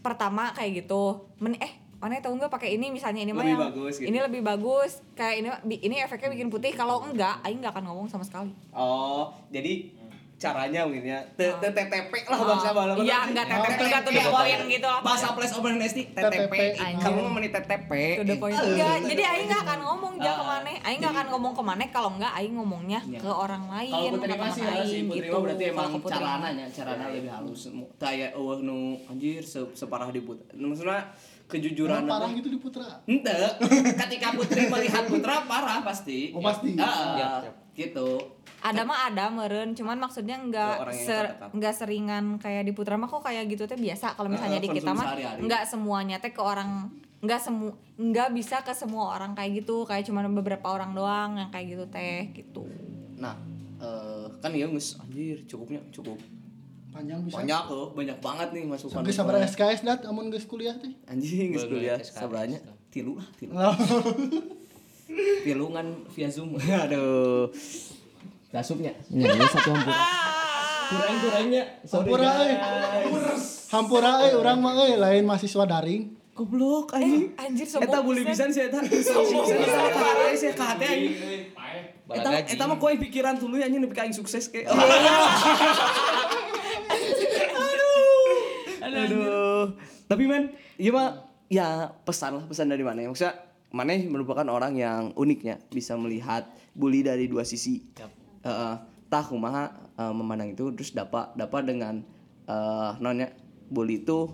B: pertama kayak gitu Men eh mana tahu nggak pakai ini misalnya ini mah
A: Lebih
B: yang
A: bagus gitu.
B: ini lebih bagus kayak ini bi- ini efeknya bikin putih kalau enggak aing nggak akan ngomong sama sekali
A: oh jadi caranya mungkin ya Te- te- TTP lah bahasa bahasa
B: Ah. iya enggak tetep
A: TTP.
B: enggak tuh the point gitu lah
A: bahasa plus open SD
C: TTP.
A: TTP
B: Anjir.
A: kamu mau menit TTP
B: to the point enggak jadi
A: Iya,
B: aing nggak akan ngomong ja
A: Ah,
B: ke mana aing nggak akan ngomong ke mana kalau enggak aing ngomongnya ke orang lain
A: Iya. kalau putri mah
B: ke teman
A: sih ya sih
B: aing
A: putri
B: gitu.
A: mah berarti
B: Kalau
A: emang
B: ke putri
A: carana
B: mah.
A: nya carana lebih halus kayak eueuh nu anjir se- separah di putra maksudnya kejujuran
C: Parah gitu di putra.
A: ente ketika putri melihat putra parah pasti
C: Oh, pasti.
A: Ah,
D: Ya,
A: gitu
B: ada mah ada meren cuman maksudnya
A: Ke
B: nggak
A: orang yang
B: ser
A: terdekat.
B: nggak seringan kayak di putra mah kok kayak gitu teh biasa kalau misalnya
A: Eh,
B: di kita mah
A: konsumsi sehari-hari.
B: nggak semuanya teh ke orang nggak semu nggak bisa ke semua orang kayak gitu kayak cuman beberapa orang doang yang kayak gitu teh gitu
A: nah eh, kan ya ngus anjir cukupnya cukup
C: Panjang bisa.
A: banyak loh banyak banget nih masukan
C: Geus sabar SKS dat amun geus kuliah teh.
A: anjing geus
D: Belum
A: kuliah
D: lihat SKS.
A: sabaranya tilu lah tilu
C: Lah,
A: pilungan via zoom aduh dasupnya
E: Ya, ini satu hampir.
A: kurang kurangnya
C: Hampura euy. Hampura euy urang mah euy lain mahasiswa daring.
A: goblok anjing
B: anjir sombong
A: Eta boleh
B: pisan.
A: bisa sih Eta Sombong pisan Eta parah sih ka hati anjing. Eta
D: Balagaji.
A: Eta mah koin pikiran tuluy anjing nepi ka aing sukses [LAUGHS] ke Aduh Aduh Tapi men Iya mah Ya pesan lah pesan dari mana Maksudnya Maneh merupakan orang yang uniknya bisa melihat bully dari dua sisi. Heeh. tah kumaha eh, memandang itu terus dapat dapat dengan eh nonnya bully itu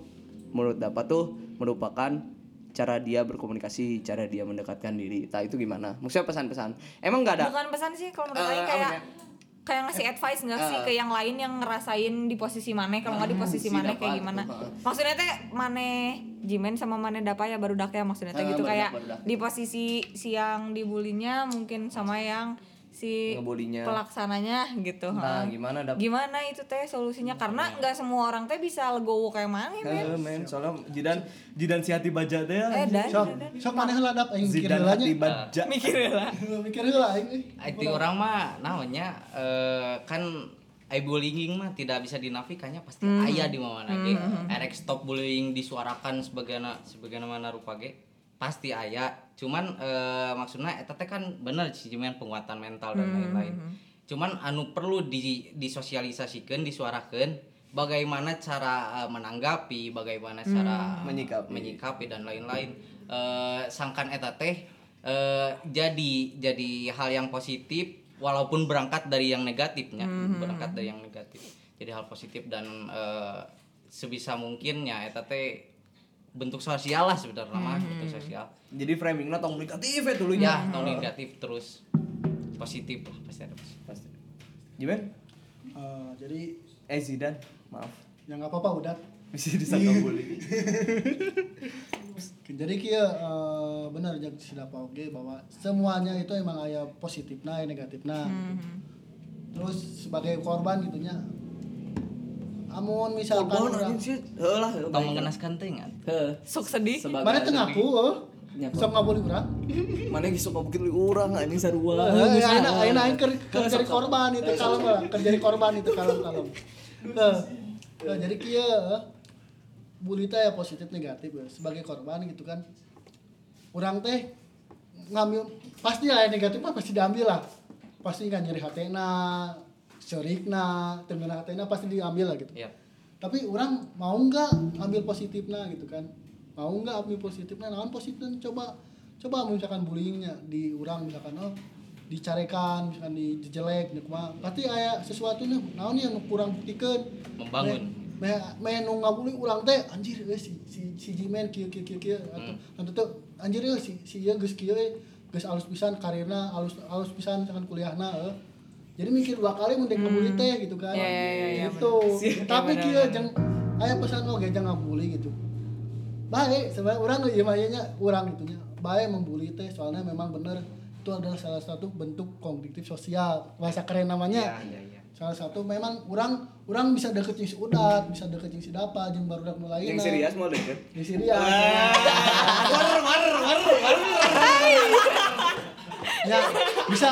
A: menurut dapat tuh merupakan cara dia berkomunikasi, cara dia mendekatkan diri. Tah itu gimana? Maksudnya pesan-pesan. Emang nggak ada
B: bukan pesan sih kalau
A: Eh,
B: menurut
A: apa
B: Aing
A: eh.
B: kayak
A: ya?
B: kayak ngasih advice nggak sih ke yang lain yang ngerasain di posisi mana kalau nggak di posisi
A: si
B: mana
A: Dapa
B: kayak
A: gitu,
B: gimana
A: heeh.
B: maksudnya teh mana Jimen sama mana Dapa ya baru dak ya maksudnya teh
A: Heeh,
B: gitu
A: barudak,
B: kayak
A: barudak.
B: di posisi si yang dibulinya mungkin sama yang si
A: Ngebulinya.
B: pelaksananya gitu
A: Nah,
B: heeh.
A: gimana dapat?
B: gimana itu teh solusinya karena nggak semua orang teh bisa legowo kayak mana men
A: Heeh, men, soalnya jidan jidan si hati baja deh.
B: Iya. eh dan Ah.
C: Sok, sok mana heula dap aing mikir
A: Zidan
C: heula
A: hati baja.
B: mikir lah
C: [LAUGHS] Mikir heula aing. eh.
D: Itu orang mah naonnya eh, kan ai bullying mah tidak bisa dinafikannya pasti
B: Hmm.
D: ayah di mana lagi. Erek stop bullying disuarakan sebagaimana sebagaimana rupa ge pasti ayah. Cuman eh, maksudnya eta teh kan bener sih cuman penguatan mental
B: Hmm,
D: dan lain-lain. Cuman anu perlu di disosialisasikan, disuarakan bagaimana cara eh, menanggapi, bagaimana
B: Hmm.
D: cara
A: Menyikapi.
D: menyikapi ya, dan lain-lain Eh, sangkan eta teh eh, jadi jadi hal yang positif walaupun berangkat dari yang negatifnya berangkat dari yang negatif jadi hal positif dan eh, sebisa mungkinnya eta teh bentuk sosial lah sebenarnya mah, bentuk sosial
A: Jadi framingnya tong negatif ya dulunya.
D: ya tahun negatif terus positif lah pasti ada positif.
A: Pasti. Gimana?
C: Eh, jadi
A: Eh Zidan, maaf. [LAUGHS]
C: ya nggak apa-apa udah.
A: Bisa disangka bully.
C: Jadi kia eh, benar jeung si Dapa oge bahwa semuanya itu emang aya positifna, aya negatifna. gitu. Terus sebagai korban gitunya. Amun misalkan
A: Korban
C: urang-
A: anjing sih. Heeh lah. heeh,
D: atau
A: baik.
D: mengenaskan teh nggak?
A: Heeh.
B: sok sedih
A: Sebagai
C: Mana teu ngaku? eh.
A: Nyaku.
C: Sok ngabuli urang.
A: Mana yang suka bikin lu orang anjing sarua.
C: Eh, ayeuna ayeuna aing keur keur jadi korban itu kalem lah, keur jadi korban itu kalem kalem. Heh. Heh, jadi kieu eh, bully teh ya positif negatif eh. sebagai korban gitu kan. Urang teh ngambil pasti lah yang negatif mah pasti diambil lah. Pasti kan nyeri hatena, serikna, tengena hatena pasti diambil lah gitu.
D: Iya.
C: Tapi orang mau nggak ambil positifnya gitu kan? Mau nggak ambil positifnya? Naon positifnya coba coba misalkan bullyingnya di orang misalkan oh dicarekan misalkan dijelek gitu mah pasti aya sesuatu nih naon yang kurang buktikan
D: Membangun.
C: meh meh nu ngabuli urang teh anjir euy si si si Jimen kieu kieu kieu kieu atau atau teu anjir euy si si ieu geus kieu euy geus alus pisan karirna alus alus pisan misalkan kuliahna euy jadi mikir dua kali mun dek ngabuli teh gitu kan
B: Ya, ya, ya, ya,
C: gitu tapi kieu jeung aya pesan oge jangan ngabuli gitu baik sebenarnya orang ya mayanya orang itunya baik membuli teh soalnya memang bener itu adalah salah satu bentuk kognitif sosial bahasa keren namanya
D: Iya, iya, iya.
C: salah satu memang orang orang bisa deketin si udat bisa deketin si dapa jeung baru mulai
A: Yang serius mau deket.
C: yang serius ya bisa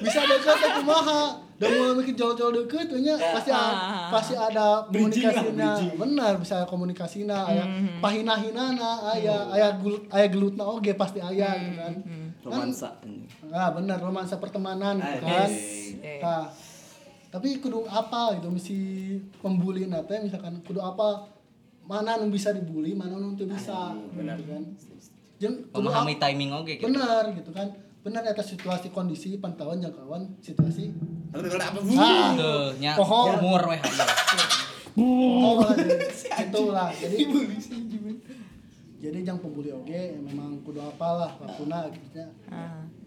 C: bisa deket tapi maha dan mulai bikin jauh-jauh deket tuh nya pasti a- pasti ada komunikasinya benar bisa komunikasinya aya pahina hinana aya aya gul aya gelutna oge pasti aya gitu kan
A: Romansa.
C: nah benar romansa pertemanan gitu
A: Ah,
C: kan
A: yes.
C: Nah, tapi kudu apa gitu mesti pembuli nate misalkan kudu apa mana nu bisa dibully mana nu teu
A: Ah,
C: bisa
A: iya,
C: gitu kan Jeung kudu
D: memahami timing oke gitu
C: benar gitu kan benar atas situasi kondisi pantauan jangkauan situasi
A: Ah.
D: tuh nya
C: Pohon.
D: umur weh hamil.
C: oh, itu lah jadi jadi jangan pembuli oke ya memang kudu apalah wakuna gitu ya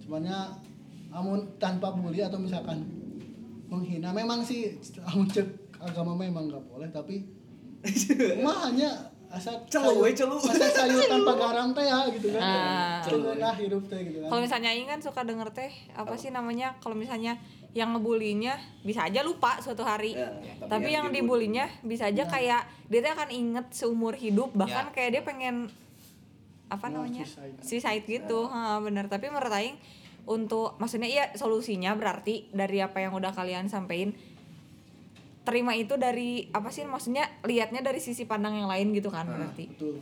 C: cuman ya amun tanpa bully atau misalkan menghina memang sih amun cek agama memang nggak boleh tapi mah hanya asal
A: Celu, we,
C: sayur-
A: celu.
C: asal sayur tanpa garam teh ya gitu kan
B: Ah.
C: celu nah hirup teh gitu
B: Kalau
C: kan
B: misalnya Aing kan suka denger teh apa sih namanya kalau misalnya yang ngebulinya bisa aja lupa suatu hari.
A: Ya,
B: tapi, yang, dibulinya bisa aja kayak dia teh akan inget seumur hidup bahkan
D: Ya.
B: kayak dia pengen apa
C: Nah,
B: namanya?
C: suicide.
B: Suicide gitu. Ha, bener. Tapi menurut aing untuk maksudnya iya solusinya berarti dari apa yang udah kalian sampein terima itu dari apa sih maksudnya lihatnya dari sisi pandang yang lain gitu kan berarti.
C: betul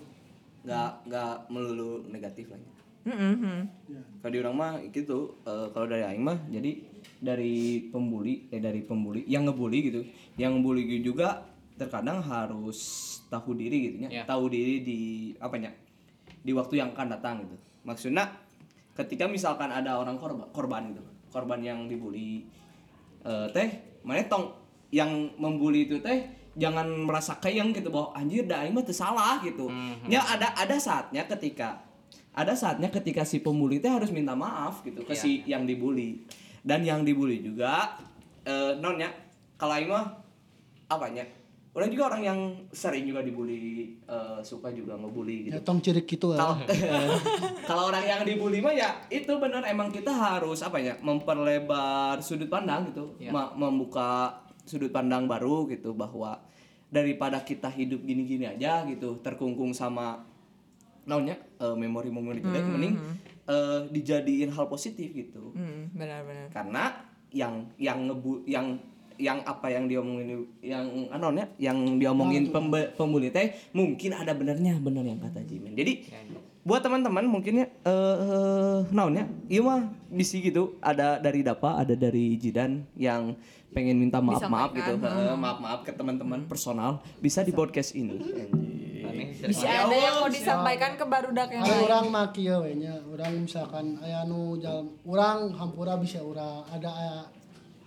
A: Nggak nggak melulu negatif lagi.
B: Mm-mm, mm.
C: ya
A: Kalau di orang mah gitu eh, kalau dari aing mah jadi dari pembuli eh dari pembuli yang ngebully gitu. Yang ngebully juga terkadang harus tahu diri gitu ya.
D: Iya.
A: Tahu diri di apanya? Di waktu yang akan datang gitu. Maksudnya ketika misalkan ada orang korban korban gitu. Korban yang dibully eh, teh mana tong yang membuli itu teh
F: jangan merasa keyeng gitu bahwa anjir da aing mah teu salah gitu. Ya ada ada saatnya ketika ada saatnya ketika si pembuli teh harus minta maaf gitu ke si yang dibully. Dan yang dibully juga eh, nonnya kalau aing mah apanya? Orang juga orang yang sering juga dibully eh, suka juga ngebully gitu.
C: Ya, tong cirik gitu
F: Kalau
C: lah.
F: kalau orang yang dibully mah ya itu benar emang kita harus apa ya memperlebar sudut pandang gitu, Ma- membuka sudut pandang baru gitu bahwa daripada kita hidup gini-gini aja gitu terkungkung sama naonnya eh, memori-memori jelek mending eh, dijadiin hal positif gitu
B: Hmm, benar-benar.
F: karena yang yang ngebu yang yang apa yang diomongin yang anonnya yang diomongin pembe, pembuli teh mungkin ada benernya bener yang kata Jimin jadi
A: Ya,
F: buat teman-teman mungkinnya eh eh, naonnya iya mah bisi gitu ada dari Dapa ada dari Jidan yang pengen minta maaf maaf gitu maaf maaf ke teman-teman personal bisa di podcast ini
B: Bisa ada yang mau disampaikan ke barudak yang
C: Ada
B: lain.
C: orang maki ya we nya. Orang misalkan aya nu jalan orang hampura bisa urang ada aya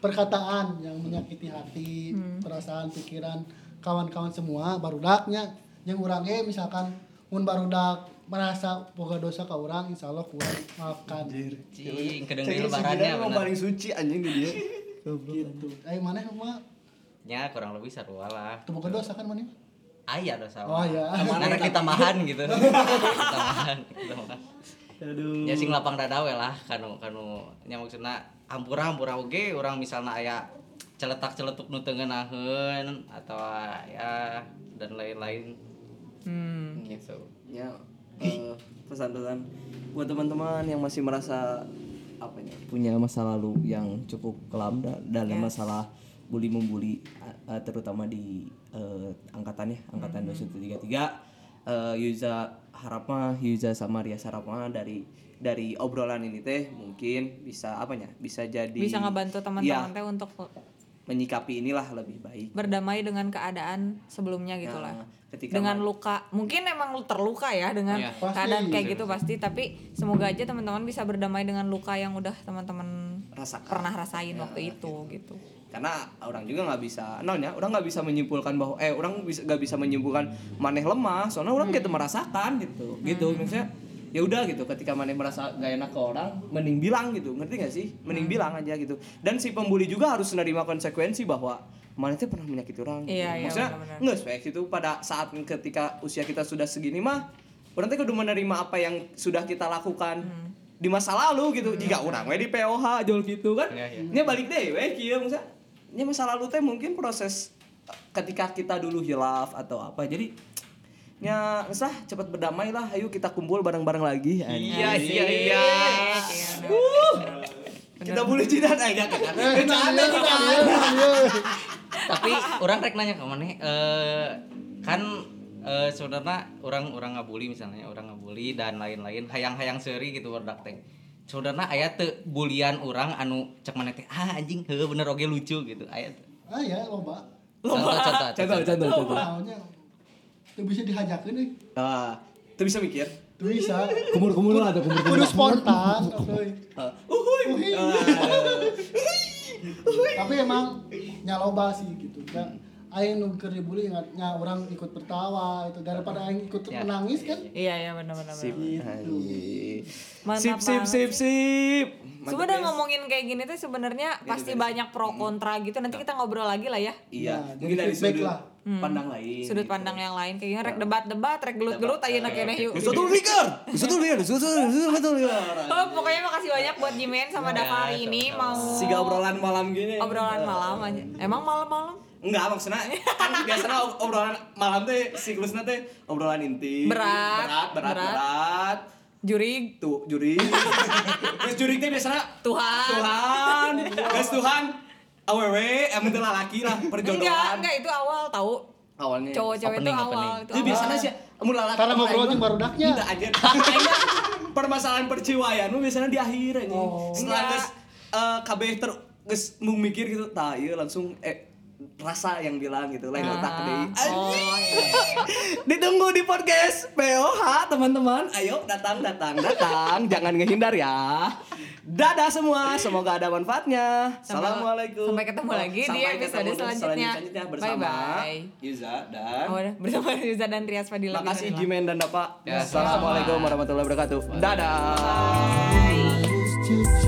C: perkataan yang menyakiti hati, perasaan, pikiran kawan-kawan semua barudaknya yang urang ge misalkan mun barudak merasa boga dosa ka urang insyaallah kurang maafkan.
D: Cing, kedeng
A: Cek
D: di
A: si
D: lebarannya
A: Gidan emang
D: bener.
A: paling suci anjing di dia.
C: Gitu. Ai maneh mah
D: Ya kurang lebih sarua lah.
C: teu boga dosa kan maneh?
D: Ayah dosa.
C: Oh, iya.
D: Karena kita mahan [LAUGHS] gitu. kita mahan, kita mahan.
C: Aduh.
D: Ya sing lapang dada we lah kanu kanu nya maksudna hampura-hampura oge urang misalna aya celetak-celetuk nu teu ngeunaheun atau ya dan lain-lain
B: Hmm.
D: gitu.
A: Ya eh, pesan-pesan buat teman-teman yang masih merasa apa ya, punya masa lalu yang cukup kelam da- dalam masalah bully membuli eh, terutama di eh, angkatannya angkatan
B: Mm-hmm.
A: 233 Eh, Yuza harapnya Yuza sama Ria harapnya dari dari obrolan ini teh mungkin bisa apanya bisa jadi
B: Bisa ngebantu
A: Iya,
B: teman-teman teh untuk
A: menyikapi inilah lebih baik
B: berdamai dengan keadaan sebelumnya gitu lah.
A: Nah, ketika
B: dengan luka mungkin emang lu terluka ya dengan
D: Iya.
C: Pasti.
B: keadaan kayak gitu pasti tapi semoga aja teman-teman bisa berdamai dengan luka yang udah teman-teman
A: Rasakan.
B: pernah rasain waktu itu gitu.
A: karena orang juga nggak bisa nonnya orang nggak bisa menyimpulkan bahwa eh orang bisa nggak bisa menyimpulkan maneh lemah soalnya orang gitu
B: Hmm.
A: merasakan gitu gitu misalnya ya udah gitu ketika maneh merasa gak enak ke orang mending bilang gitu ngerti gak sih
B: Hmm.
A: mending bilang aja gitu dan si pembuli juga harus menerima konsekuensi bahwa maneh tuh pernah menyakiti orang gitu.
B: Iya, iya,
A: maksudnya
B: benar-benar.
A: nggak spek itu pada saat ketika usia kita sudah segini mah orang tuh kudu menerima apa yang sudah kita lakukan
B: Hmm.
A: di masa lalu gitu jika orang we di POH jol gitu kan
D: Iya, iya.
A: nya balik deh eh, we kieu masa nya masa lalu teh mungkin proses eh, ketika kita dulu hilaf atau apa jadi nya usah cepat berdamai lah ayo kita kumpul bareng-bareng lagi
D: Iya iya iya.
A: kita boleh jidat aja
C: Eh, bercanda kita.
D: Tapi orang rek nanya ke maneh eh, kan eh saudara orang orang ngabuli misalnya orang ngabuli dan lain-lain hayang-hayang seuri gitu berdak teh. Saudara aya teu bulian orang anu cek maneh teh ah anjing heuh bener oge lucu gitu aya teu.
C: Ah ya loba.
D: Contoh-contoh.
A: contoh contoh contoh
C: Tahunnya teu bisa dihajakeun euy.
A: ah tuh bisa mikir
C: Teu bisa.
E: Kumur-kumur lah ada kumur-kumur.
C: Kudu spontan. euy.
A: Ah, uhuy.
C: Uhuy. tapi emang nyaloba sih gitu ya aing nu keur dibully ingat nya orang ikut tertawa itu daripada aing ikut menangis kan
B: Iya iya benar-benar.
A: Sip, anjing.
B: Mantap
A: sip, sip,
B: banget
A: sip, sip. Mantap,
B: Sebenarnya
A: guys.
B: ngomongin kayak gini tuh sebenarnya pasti banyak pro kontra gitu. Nanti kita ngobrol lagi lah ya.
A: Iya,
C: Nah,
A: mungkin
C: jadi
A: dari
C: feedback
A: sudut
C: lah.
B: Hmm.
A: pandang lain.
B: Sudut pandang yang lain kayak gini rek debat-debat, rek gelut-gelut ayeuna keneh yuk.
A: Bisa tuh ligar, bisa tuh ligar, bisa tuh bisa tuh ligar.
B: Oh, pokoknya makasih banyak buat Jimen sama Dava hari ini mau
A: Siga obrolan malam gini.
B: obrolan malam aja. Emang malam-malam
A: Enggak
B: [LAUGHS]
A: maksudnya kan biasanya ob- obrolan malam teh siklusnya teh obrolan inti.
B: Berat,
A: berat, berat,
B: berat.
A: berat.
B: juri
A: Tuh
B: [LAUGHS]
A: juri. Terus juri teh biasanya
B: Tuhan.
A: Tuhan, guys Tuhan. Awewe, emang teu lalaki lah
B: Enggak,
A: perjodohan.
B: enggak itu awal tahu.
A: Awalnya.
B: Cowok-cowok itu
D: Opening,
B: awal
D: opening.
B: itu.
A: Itu
B: awal.
A: biasanya sih mun lalaki.
C: karena
A: sama
C: ngobrol
A: aing
C: jeung
A: mah,
C: barudaknya
A: Tidak
B: [LAUGHS]
A: aja. permasalahan perjiwaan lu biasanya di akhir aja. Setelah
B: Oh, Enggak.
A: geus eh, kabeh ter geus mung mikir gitu, tah ieu langsung eh rasa yang bilang gitu lain otak
B: Ah,
A: deh
B: oh, iya.
A: ditunggu di podcast POH teman-teman ayo datang datang
B: [LAUGHS]
A: datang jangan ngehindar ya dadah semua semoga ada manfaatnya
B: Sampai-
A: assalamualaikum Oh,
B: sampai ketemu lagi di
A: Sampai
B: episode
A: ketemu di
B: selanjutnya.
A: bersama
B: Bye-bye.
A: Yuza dan
B: Oh, udah. bersama Riza dan Rias Fadila
A: makasih
B: Bismillah.
A: Jimen dan Dapak
D: Ya,
A: assalamualaikum warahmatullahi wabarakatuh dadah
B: Bye.
C: Just